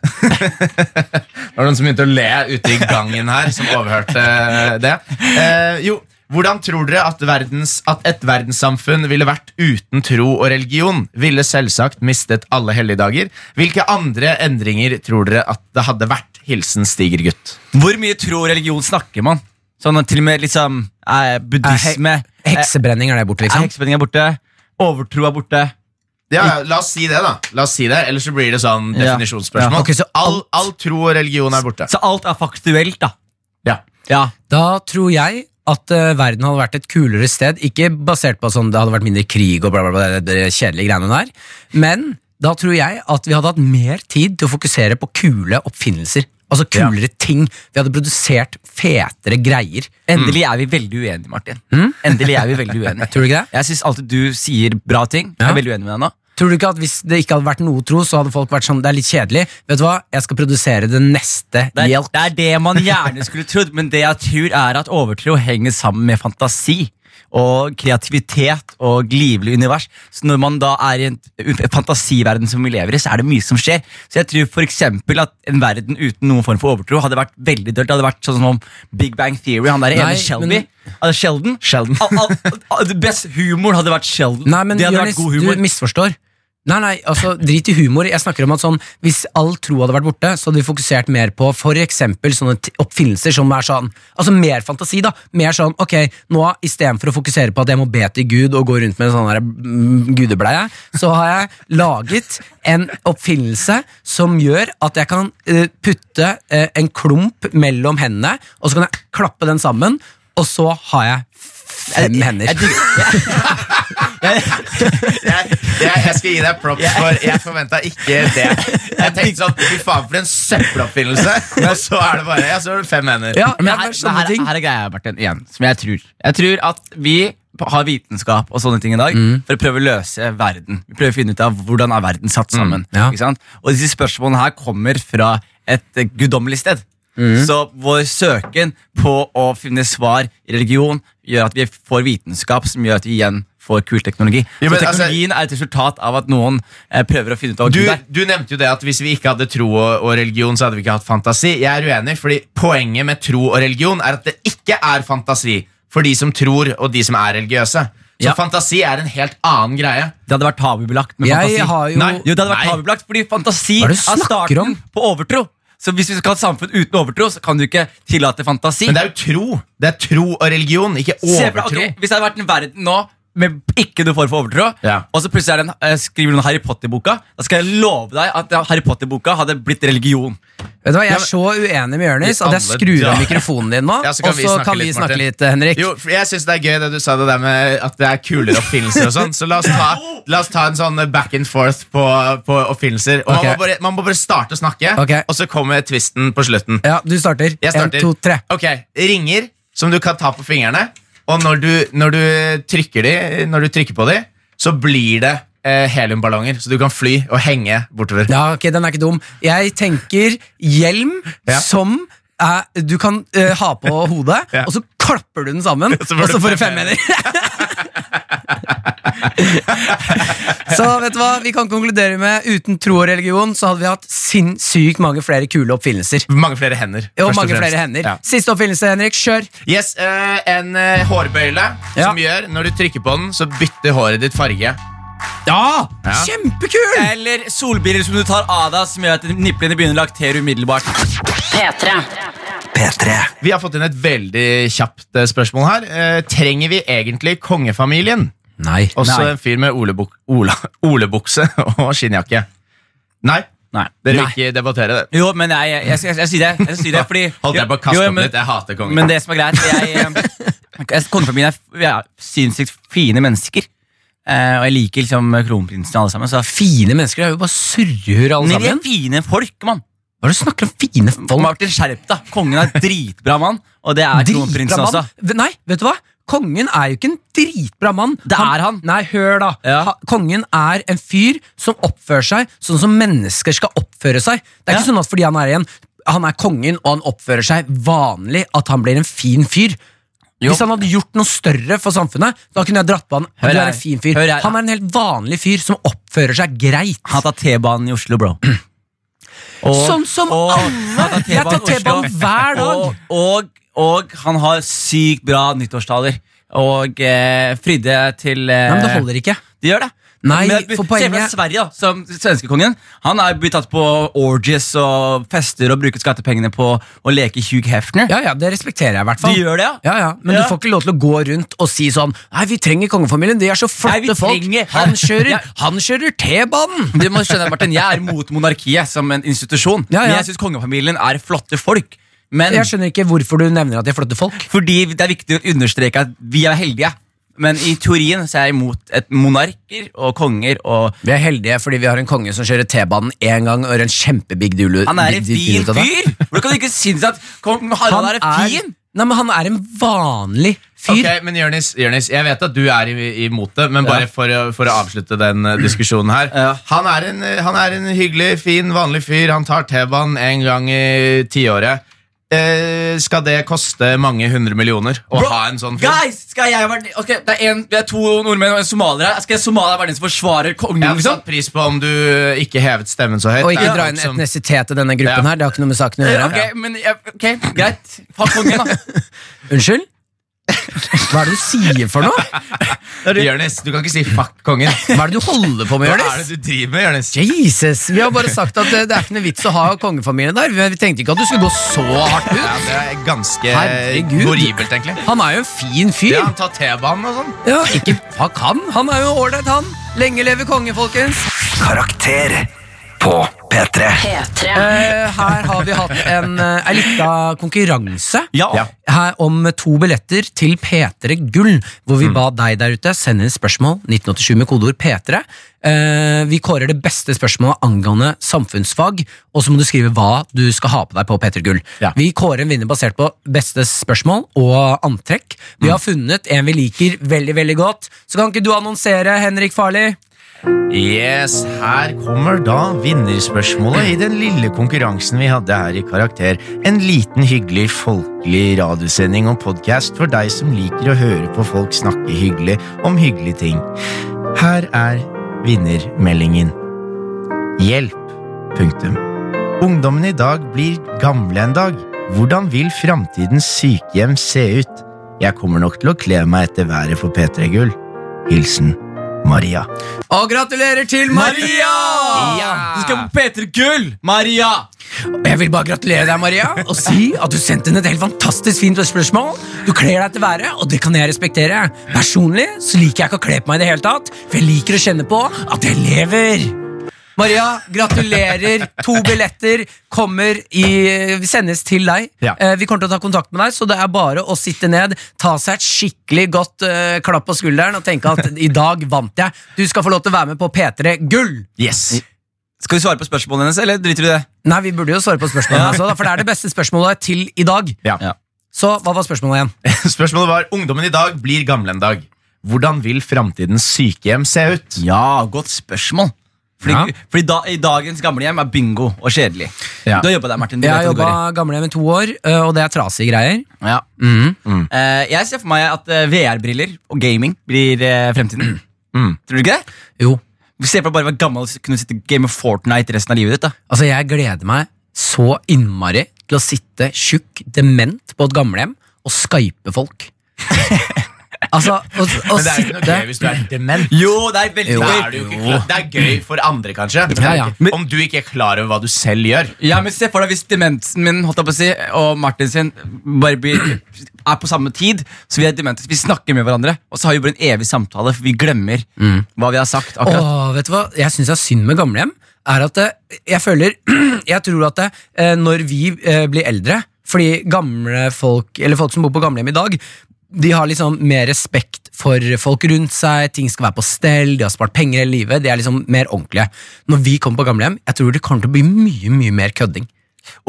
det var noen som begynte å le ute i gangen her, som overhørte eh, det. Eh, jo, Hvordan tror dere at, verdens, at et verdenssamfunn ville vært uten tro og religion? Ville selvsagt mistet alle helligdager. Hvilke andre endringer tror dere at det hadde vært? Hilsen Stigergutt. Hvor mye tro og religion snakker man? Sånn at til og med liksom eh, buddhisme Heksebrenning er det borte, eh, liksom. Heksebrenning er borte. Overtro er borte. Ja, la oss si det, da. La oss si det, Ellers så blir det sånn Ja. definisjonsspørsmål. Ja, ok, så all, all tro og religion er borte. Så alt er faktuelt, da. Ja. Ja. Da tror jeg at eh, verden hadde vært et kulere sted. Ikke basert på sånn det hadde vært mindre krig og bla, bla, bla, det, det kjedelige greiene der. Men da tror jeg at vi hadde hatt mer tid til å fokusere på kule oppfinnelser. Altså kulere ting. Vi hadde produsert fetere greier. Endelig er vi veldig uenige, Martin. Endelig er vi veldig uenige Mm. Tror du ikke det? Jeg syns alltid du sier bra ting. Jeg Ja. er veldig uenig med deg nå. Tror du ikke at Hvis det ikke hadde vært noe tro, så hadde folk vært sånn Det er litt kjedelig. Vet du hva? Jeg skal produsere det neste Det er, hjelp. det er det man gjerne skulle trodd, men det jeg tror er at overtro henger sammen med fantasi. Og kreativitet og livlig univers. Så når man da er i en, en fantasiverden som vi lever i, så er det mye som skjer. Så jeg tror for eksempel at en verden uten noen form for overtro hadde vært veldig dølt. Det hadde vært sånn som Big Bang Theory, han der Nei, ene Shelby. men- Al- Sheldon. Sheldon. Al, al, al, det best humor hadde vært Sheldon. Nei, men det hadde Jonis, vært god humor. du misforstår. Nei, nei, altså Drit i humor. Jeg snakker om at sånn Hvis all tro hadde vært borte, så hadde vi fokusert mer på for eksempel sånne t- oppfinnelser som er sånn Altså mer fantasi, da. Mer sånn ok, nå istedenfor å fokusere på at jeg må be til Gud og gå rundt med en sånn der, mm, gudebleie, så har jeg laget en oppfinnelse som gjør at jeg kan eh, putte eh, en klump mellom hendene, og så kan jeg klappe den sammen, og så har jeg fem hender. Jeg digger- Jeg, jeg, jeg skal gi deg props, for jeg forventa ikke det. Jeg tenkte sånn Fy faen, for en søppeloppfinnelse! Og så er det bare Ja, så har du fem hender. ja, Men det er her, bare sånne her, ting. her er greia, Martin, igjen, som jeg tror. Jeg tror at vi har vitenskap og sånne ting i dag Mm. for å prøve å løse verden. Vi prøver å finne ut av hvordan er verden satt sammen. Mm, ja. Ikke sant? Og disse spørsmålene her kommer fra et eh, guddommelig sted. Mm. Så vår søken på å finne svar i religion gjør at vi får vitenskap som gjør at vi igjen får kul teknologi. Jo, men så altså- teknologien er et resultat av at noen eh, prøver å finne ut av Du, Gud er. du nevnte jo det at hvis vi ikke hadde tro og, og religion, så hadde vi ikke hatt fantasi. Jeg er uenig, fordi poenget med tro og religion er at det ikke er fantasi for de som tror, og de som er religiøse. Så Ja. fantasi er en helt annen greie. Det hadde vært tabubelagt med Jeg fantasi. har jo- Nei, jo, det hadde vært Nei. tabubelagt Fordi fantasi Hva er er det du snakker starten om? på overtro. Så hvis vi skal ha et samfunn uten overtro, så kan du ikke tillate fantasi. Men det er jo tro. Det er tro og religion, ikke Se for deg, overtro. ok, hvis det hadde vært en verden nå med ikke noe form for overtro, Ja. og så plutselig er det en, eh, skriver noen Harry Potter-boka, da skal jeg love deg at den Harry Potter-boka hadde blitt religion. Vet du hva, Jeg er så uenig med Jonis at jeg alle skrur av dager. mikrofonen din nå. Ja, så kan og vi så snakke kan vi litt, snakke Martin. litt, eh, Henrik. Jo, for jeg synes det er gøy det du sa det der med at det er kulere oppfinnelser og sånn. Så la oss ta, la oss ta en sånn back and forth på, på oppfinnelser. Og Ok. man, må bare, man må bare starte å snakke, Ok. og så kommer twisten på slutten. Ja, du starter. Jeg starter. En, to, tre. Ok, Ringer som du kan ta på fingrene, og når du, når du, trykker, de, når du trykker på de, så blir det eh, heliumballonger, så du kan fly og henge bortover. Ja, ok, Den er ikke dum. Jeg tenker hjelm Ja. som er, du kan eh, ha på hodet, Ja. og så klapper du den sammen, så får og du så får du fem fem hender. så vet du hva, vi kan konkludere med uten tro og religion så hadde vi hatt sinnssykt mange flere kule oppfinnelser. Mange flere hender. Og først mange fremst. flere hender. Ja. Siste oppfinnelse, Henrik. Kjør. Yes, eh, En eh, hårbøyle Ja. som gjør når du trykker på den, så bytter håret ditt farge. Ja! Ja. Kjempekul! Eller solbriller som du tar av deg, som gjør at niplene begynner å laktere umiddelbart. P3. P3 Vi har fått inn et veldig kjapt eh, spørsmål her. Eh, trenger vi egentlig kongefamilien? Nei. Også en fyr med olebuk Ola olebukse og skinnjakke. Nei, Nei. dere vil ikke debattere det. Jo, men jeg, jeg, jeg, jeg, jeg sier det. Jeg sier det fordi, Holdt jeg på å kaste Jo, jo, opp men- litt? Jeg hater kongen. Men det som er greit jeg, eh, Kongefamilien er, vi er sinnssykt fine mennesker. Eh, og jeg liker liksom kronprinsen og alle sammen. Så Fine mennesker er jo bare surrehur alle Nei, de er sammen. fine folk, mann. Hva er det du snakker om fine folk? Martin, skjerp deg. Kongen er dritbra mann, og det er kronprinsen Dritbra også. mann. V- Nei, vet du hva? Kongen er jo ikke en dritbra mann. Det er han. Nei, hør da. Ja. Ha- Kongen er en fyr som oppfører seg sånn som mennesker skal oppføre seg. Det er Ja. ikke sånn at fordi han er igjen han er kongen og han oppfører seg vanlig, at han blir en fin fyr. Hvis han hadde gjort noe større for samfunnet, da kunne jeg dratt på han. Hør du her. er en fin fyr. Hør her. Han er en helt vanlig fyr som oppfører seg greit. Han tar T-banen i Oslo, bro. Og- Sånn som og- alle. han Jeg tar i Oslo. T-banen hver dag. Og, og, Og han har sykt bra nyttårstaler. Og eh, Fride til eh, Nei, men det holder ikke. De gjør det. Nei, Men for Se for poenget- deg Sverige, da, som svenskekongen. Han er blitt tatt på orgies og fester og bruker skattepengene på å leke Hugh Hefner. Ja, ja, Det respekterer jeg i hvert De fall. gjør det, Ja, ja, Men Ja. du får ikke lov til å gå rundt og si sånn Nei, vi trenger kongefamilien. De er så flotte Nei, vi folk. trenger- Han kjører, Ja. han kjører T-banen! Du må skjønne, Martin, Jeg er mot monarkiet som en institusjon. Ja, ja. Men jeg syns kongefamilien er flotte folk. Men Jeg skjønner ikke hvorfor du nevner at de er flotte folk. fordi det er viktig å understreke at vi er heldige. Men i teorien så er jeg imot et monarker og konger og Vi er heldige fordi vi har en konge som kjører T-banen én gang og gjør en kjempebig dulu. Han er en big deal fin ut av det. fyr! Hvordan kan du ikke synes at kong Harald er fin? Nei, men han er en vanlig fyr. Ok, men Jørnis, Jørnis, jeg vet at du er i- imot det, men bare for, å, for å avslutte den eh, diskusjonen her. Han, er en, eh, han er en hyggelig, fin, vanlig fyr. Han tar T-banen en gang i tiåret. Eh, skal det koste mange hundre millioner å Bro, ha en sånn fyr? Guys, skal jeg være Ok, det er, en, det er to nordmenn og en somalier her. Skal jeg somalier være den som forsvarer kongen? Jeg hadde liksom? satt pris på om du ikke hevet stemmen så høyt. Og Det ikke er dra folk inn som- etnisitet i denne gruppen Ja. her. Det har ikke noe med saken å gjøre. Ok, men jeg- ok, Greit. Ha kongen, da. Unnskyld? Hva er det du sier for noe? Jørnis, du kan ikke si 'fuck kongen'. Hva er det du holder på med, Hva Jonis? er det du driver med, Jørnis? Jesus, Vi har bare sagt at eh, det er ikke noe vits å ha kongefamilien der. Vi- Vi tenkte ikke at du skulle gå så hardt Ja, ut. det er ganske Herregud. eh, horribelt, egentlig. Han er jo en fin fyr. Ja, han tar T-banen og sånn. Ja, ikke fuck han. Han er jo ålreit, han. Lenge leve kongen, folkens. Karakter på P3. P3. Eh, her har vi hatt en, eh, ei lita konkurranse. Ja. Ja. her om to billetter til P3 Gull, hvor Mm. vi ba deg der ute sende inn spørsmål 1987 med kodeord P3. Eh, vi kårer det beste spørsmålet angående samfunnsfag, og så må du skrive hva du skal ha på deg på P3 Gull. Ja. Vi kårer en vinner basert på beste spørsmål og antrekk. Mm. Vi har funnet en vi liker veldig, veldig godt. Så kan ikke du annonsere, Henrik Farli? Yes, her kommer da vinnerspørsmålet i den lille konkurransen vi hadde her i Karakter. En liten, hyggelig, folkelig radiosending og podkast for deg som liker å høre på folk snakke hyggelig om hyggelige ting. Her er vinnermeldingen. Hjelp. Punktum. Ungdommen i dag blir gamle en dag. Hvordan vil framtidens sykehjem se ut? Jeg kommer nok til å kle meg etter været for P3 Gull. Hilsen Maria. Og gratulerer til Maria! Du skal på P3 Gull, Maria! Jeg vil bare gratulere deg, Maria, og si at du sendte inn et helt fantastisk fint spørsmål. Du kler deg til været, og det kan jeg respektere. Personlig så liker jeg ikke å kle på meg i det hele tatt, for jeg liker å kjenne på at jeg lever. Maria, gratulerer. To billetter kommer i, sendes til deg. Ja. Eh, vi kommer til å ta kontakt med deg, så det er bare å sitte ned, ta seg et skikkelig godt eh, klapp på skulderen og tenke at i dag vant jeg. Du skal få lov til å være med på P3 Gull. Yes. Skal vi svare på spørsmålene hennes, eller driter du i det? Nei, vi burde jo svare på spørsmålene, altså, da, for det er det beste spørsmålet til i dag. Ja. Så hva var spørsmålet igjen? Spørsmålet var ungdommen i dag blir gamle en dag. Hvordan vil framtidens sykehjem se ut? Ja, godt spørsmål. Fordi, Ja. fordi da, i dagens gamlehjem er bingo og kjedelig. Ja. Du har jobba der, Martin. Du Jeg vet har hva det jobba går i. gamlehjem i to år, øh, og det er trasige greier. Ja. Eh, jeg ser for meg at eh, VR-briller og gaming blir eh, fremtiden. Mm. Tror du ikke det? Jo, Se for deg bare å være gammel og kunne sitte og game Fortnite resten av livet ditt. da altså Jeg gleder meg så innmari til å sitte tjukk, dement på et gamlehjem og skype folk. altså, å, å Men det er sitte jo ikke noe gøy hvis du er dement. Jo, det er veldig Jo. Da gøy. er det, jo ikke klar. det er gøy for andre, kanskje. Ja, ja. Men- Om du ikke er klar over hva du selv gjør. Ja, men Se for deg hvis demensen min holdt jeg på å si, og Martin sin bare blir, er på samme tid. Så vi er demente, vi snakker med hverandre, og så har vi bare en evig samtale. For vi glemmer hva vi har sagt. akkurat Åh, vet du hva? Jeg syns det er synd med gamlehjem. Er at eh, jeg føler Jeg tror at eh, når vi eh, blir eldre Fordi gamle folk Eller folk som bor på gamlehjem i dag, de har liksom mer respekt for folk rundt seg. Ting skal være på stell, de har spart penger hele livet. De er liksom mer ordentlige. Når vi kommer på gamlehjem, jeg tror det kommer til å bli mye, mye mer kødding.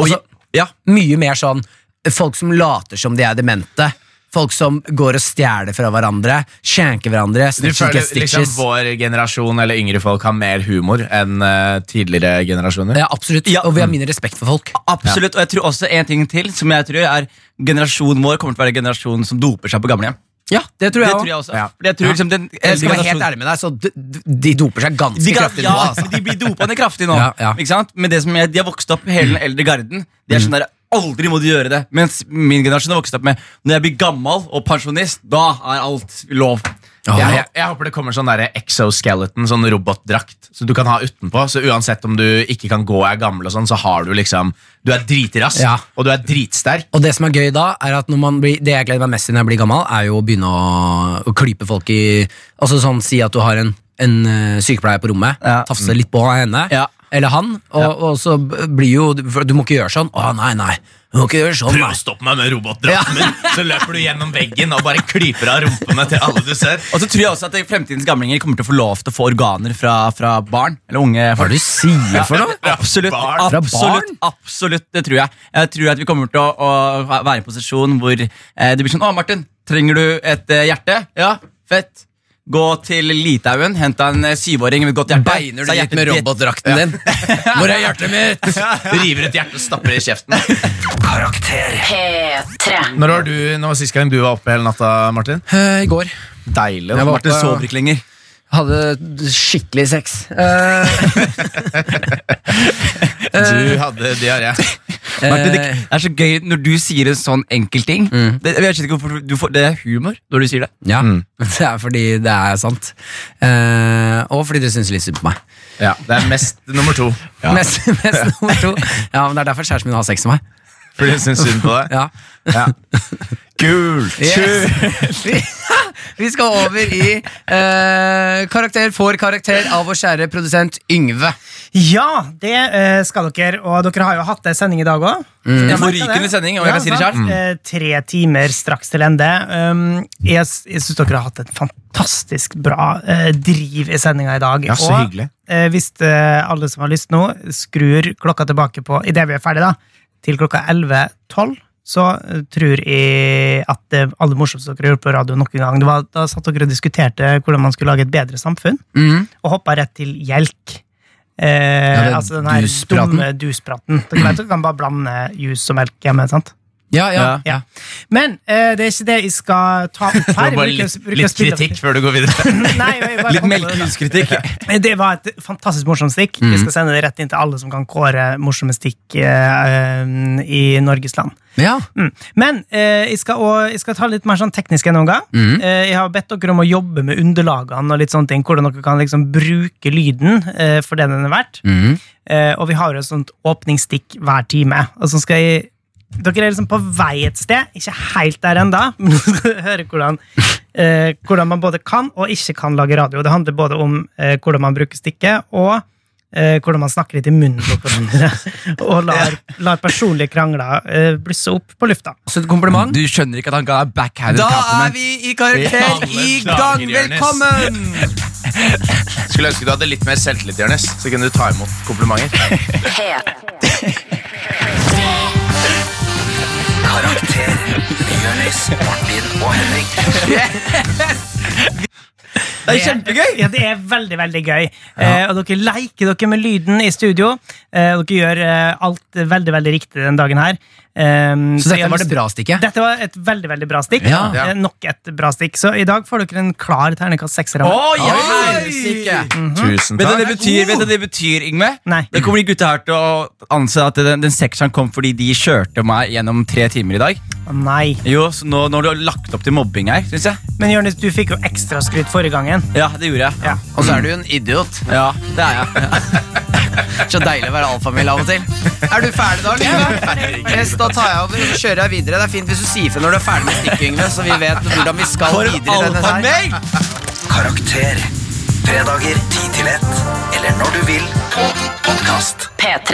Og Altså, ja, mye mer sånn folk som later som de er demente. Folk som går og stjeler fra hverandre, skjenker hverandre. Du Snitches, føler get liksom stitches. Vår generasjon eller yngre folk har mer humor enn eh, tidligere generasjoner. Ja, absolutt. Ja. Og vi har mindre respekt for folk. Absolutt, og jeg tror også en ting til Som jeg tror er generasjonen vår kommer til å være generasjonen som doper seg på gamlehjem. Ja, det tror Det jeg tror jeg også. også. Fordi Jeg tror liksom den Jeg skal eldre være helt generasjonen- ærlig med deg, så d- d- de doper seg ganske De, kan, kraftig ja, nå. Altså. de blir dopende kraftig nå. Ja, ja. Ikke sant? Men det som er, de har vokst opp, hele den eldre garden. De er sånn der, Å, aldri må du gjøre det. Mens min generasjon har vokst opp med når jeg blir gammel og pensjonist, da er alt lov. Jeg, jeg, jeg håper det kommer sånn der exoskeleton, sånn robotdrakt, som du kan ha utenpå. Så uansett om du ikke kan gå og er gammel, og sånn, så har du liksom Du er dritrask, Ja. og du er dritsterk. Og det som er gøy da, er at når man blir, det jeg gleder meg mest til når jeg blir gammel, er jo å begynne å, å klype folk i Altså sånn, si at du har en, en eh, sykepleier på rommet, Ja. tafse litt på henne, Ja. eller han, og, og så b- blir jo for Du må ikke gjøre sånn. Å, nei, nei. Du må ikke gjøre sånn, Prøv nei. å stoppe meg med robotdrakten min, så løper du gjennom veggen og bare klyper av rumpene til alle du ser. Og så tror jeg også at det- fremtidens gamlinger kommer til å få lov til å få organer fra, fra barn. Eller unge Hva er folk. det du sier for noe? Absolutt, Barn. Fra absolutt, barn? absolutt, det tror jeg. Jeg tror at vi kommer til å, å være i en posisjon hvor eh, det blir sånn Å, Martin, trenger du et eh, hjerte? Ja, fett. Gå til Litauen, hent deg en eh, syvåring med et godt hjerte. Beiner Så du er litt hjertet med ditt. robotdrakten din? Hvor er hjertet mitt? River et hjerte og stapper det i kjeften. Karakter. P3. Når var du, nå var sist gang du var oppe hele natta, Martin? Eh, I går. Deilig. Jeg var Martin oppe- sover ikke lenger. Hadde skikkelig sex. Eh, Du hadde diaré. Martin, eh, det er så gøy når du sier en sånn enkel ting. Det, jeg vet ikke hvorfor du får, det er humor når du sier det. ja, Mm. Det er fordi det er sant. Eh, og fordi dere syns litt synd på meg. Ja, det er mest nummer to. Mest, mest nummer to. Ja, men Det er derfor kjæresten min har sex med meg. Fordi jeg syns synd på deg. Ja. Ja. Kult! Yes. Vi skal over i eh, Karakter får karakter av vår kjære produsent Yngve. Ja, det eh, skal dere. Og dere har jo hatt en sending i dag òg. En forrykende sending, og jeg kan si det selv. Eh, Tre timer straks til ende. Um, jeg s- jeg syns dere har hatt et fantastisk bra eh, driv i sendinga i dag. Ja, så og hyggelig. eh, hvis eh, alle som har lyst nå, skrur klokka tilbake på idet vi er ferdig da, til klokka 11.12. Så eh, tror jeg at det aller morsomste dere gjorde på radio nok en gang, det var da satt dere og diskuterte hvordan man skulle lage et bedre samfunn, og hoppa rett til gjelk. Eh, Ja, det er altså den her duspraten. dumme duspraten. Dere vet, dere kan bare blande juice og melk hjemme. sant? Ja, ja, Ja. ja. Men eh, det er ikke det jeg skal ta opp her. Bare Jeg bruker- litt, bruker å litt spille- kritikk før du går videre. Nei, jeg bare Litt kom på det da. melkehuskritikk. Det var et fantastisk morsomt stikk. Jeg skal sende det rett inn til alle som kan kåre morsomme stikk eh, eh, i Norges land. ja. Mm. Men eh, jeg, skal også, jeg skal ta litt mer sånn teknisk gjennomgang. Eh, jeg har bedt dere om å jobbe med underlagene og litt sånne ting, hvordan dere kan liksom bruke lyden eh, for det den er verdt. Eh, og vi har jo et sånt åpningsstikk hver time. Og så skal jeg dere er liksom på vei et sted, ikke helt der ennå, men nå skal dere høre hvordan, eh, hvordan man både kan og ikke kan lage radio. Det handler både om eh, hvordan man bruker stikket, og eh, hvordan man snakker litt i munnen på hverandre. og lar, lar personlige krangler eh, blusse opp på lufta. Så et kompliment. Du skjønner ikke at han ga deg backhanded Da er compliment. vi i karakter Alle i dager, gang! Jonis. Velkommen! Skulle ønske du hadde litt mer selvtillit, Jonis. Så kunne du ta imot komplimenter. P3. Karakter. Jonis, Martin og Henrik. Det er kjempegøy! Ja, det er veldig, veldig gøy. Eh, og dere leker dere med lyden i studio. Eh, og dere gjør eh, alt veldig, veldig riktig den dagen her. Eh, Så jeg dette var det vil- bra stikket. Dette var et veldig, veldig bra stikk. Ja. Eh, nok et bra stikk. Så i dag får dere en klar terningkast sekser. av meg. Oi, helsike! helsike! Tusen Vet du hva takk. det betyr, vet du hva det betyr Yngve? Nei. Det kommer de gutta her til å anse at den, den sekseren kom fordi de kjørte meg gjennom tre timer i dag. Nei. Jo, så nå, nå har du lagt opp til mobbing her, syns jeg. Men Jonis, du fikk jo ekstraskryt forrige gangen. Ja, det gjorde jeg. Ja. Og så er du en idiot. Ja, det er jeg. Så deilig å være alfamilie av og til. Er du ferdig da, Lyngve? Yes, da tar jeg over og så kjører jeg videre. Det er fint hvis du sier fra når du er ferdig med stikket, Yngve, så vi vet hvordan vi skal For en videre. i denne her. alfamel! Karakter. Fredager 10 til 1. Eller når du vil på podkast. P3.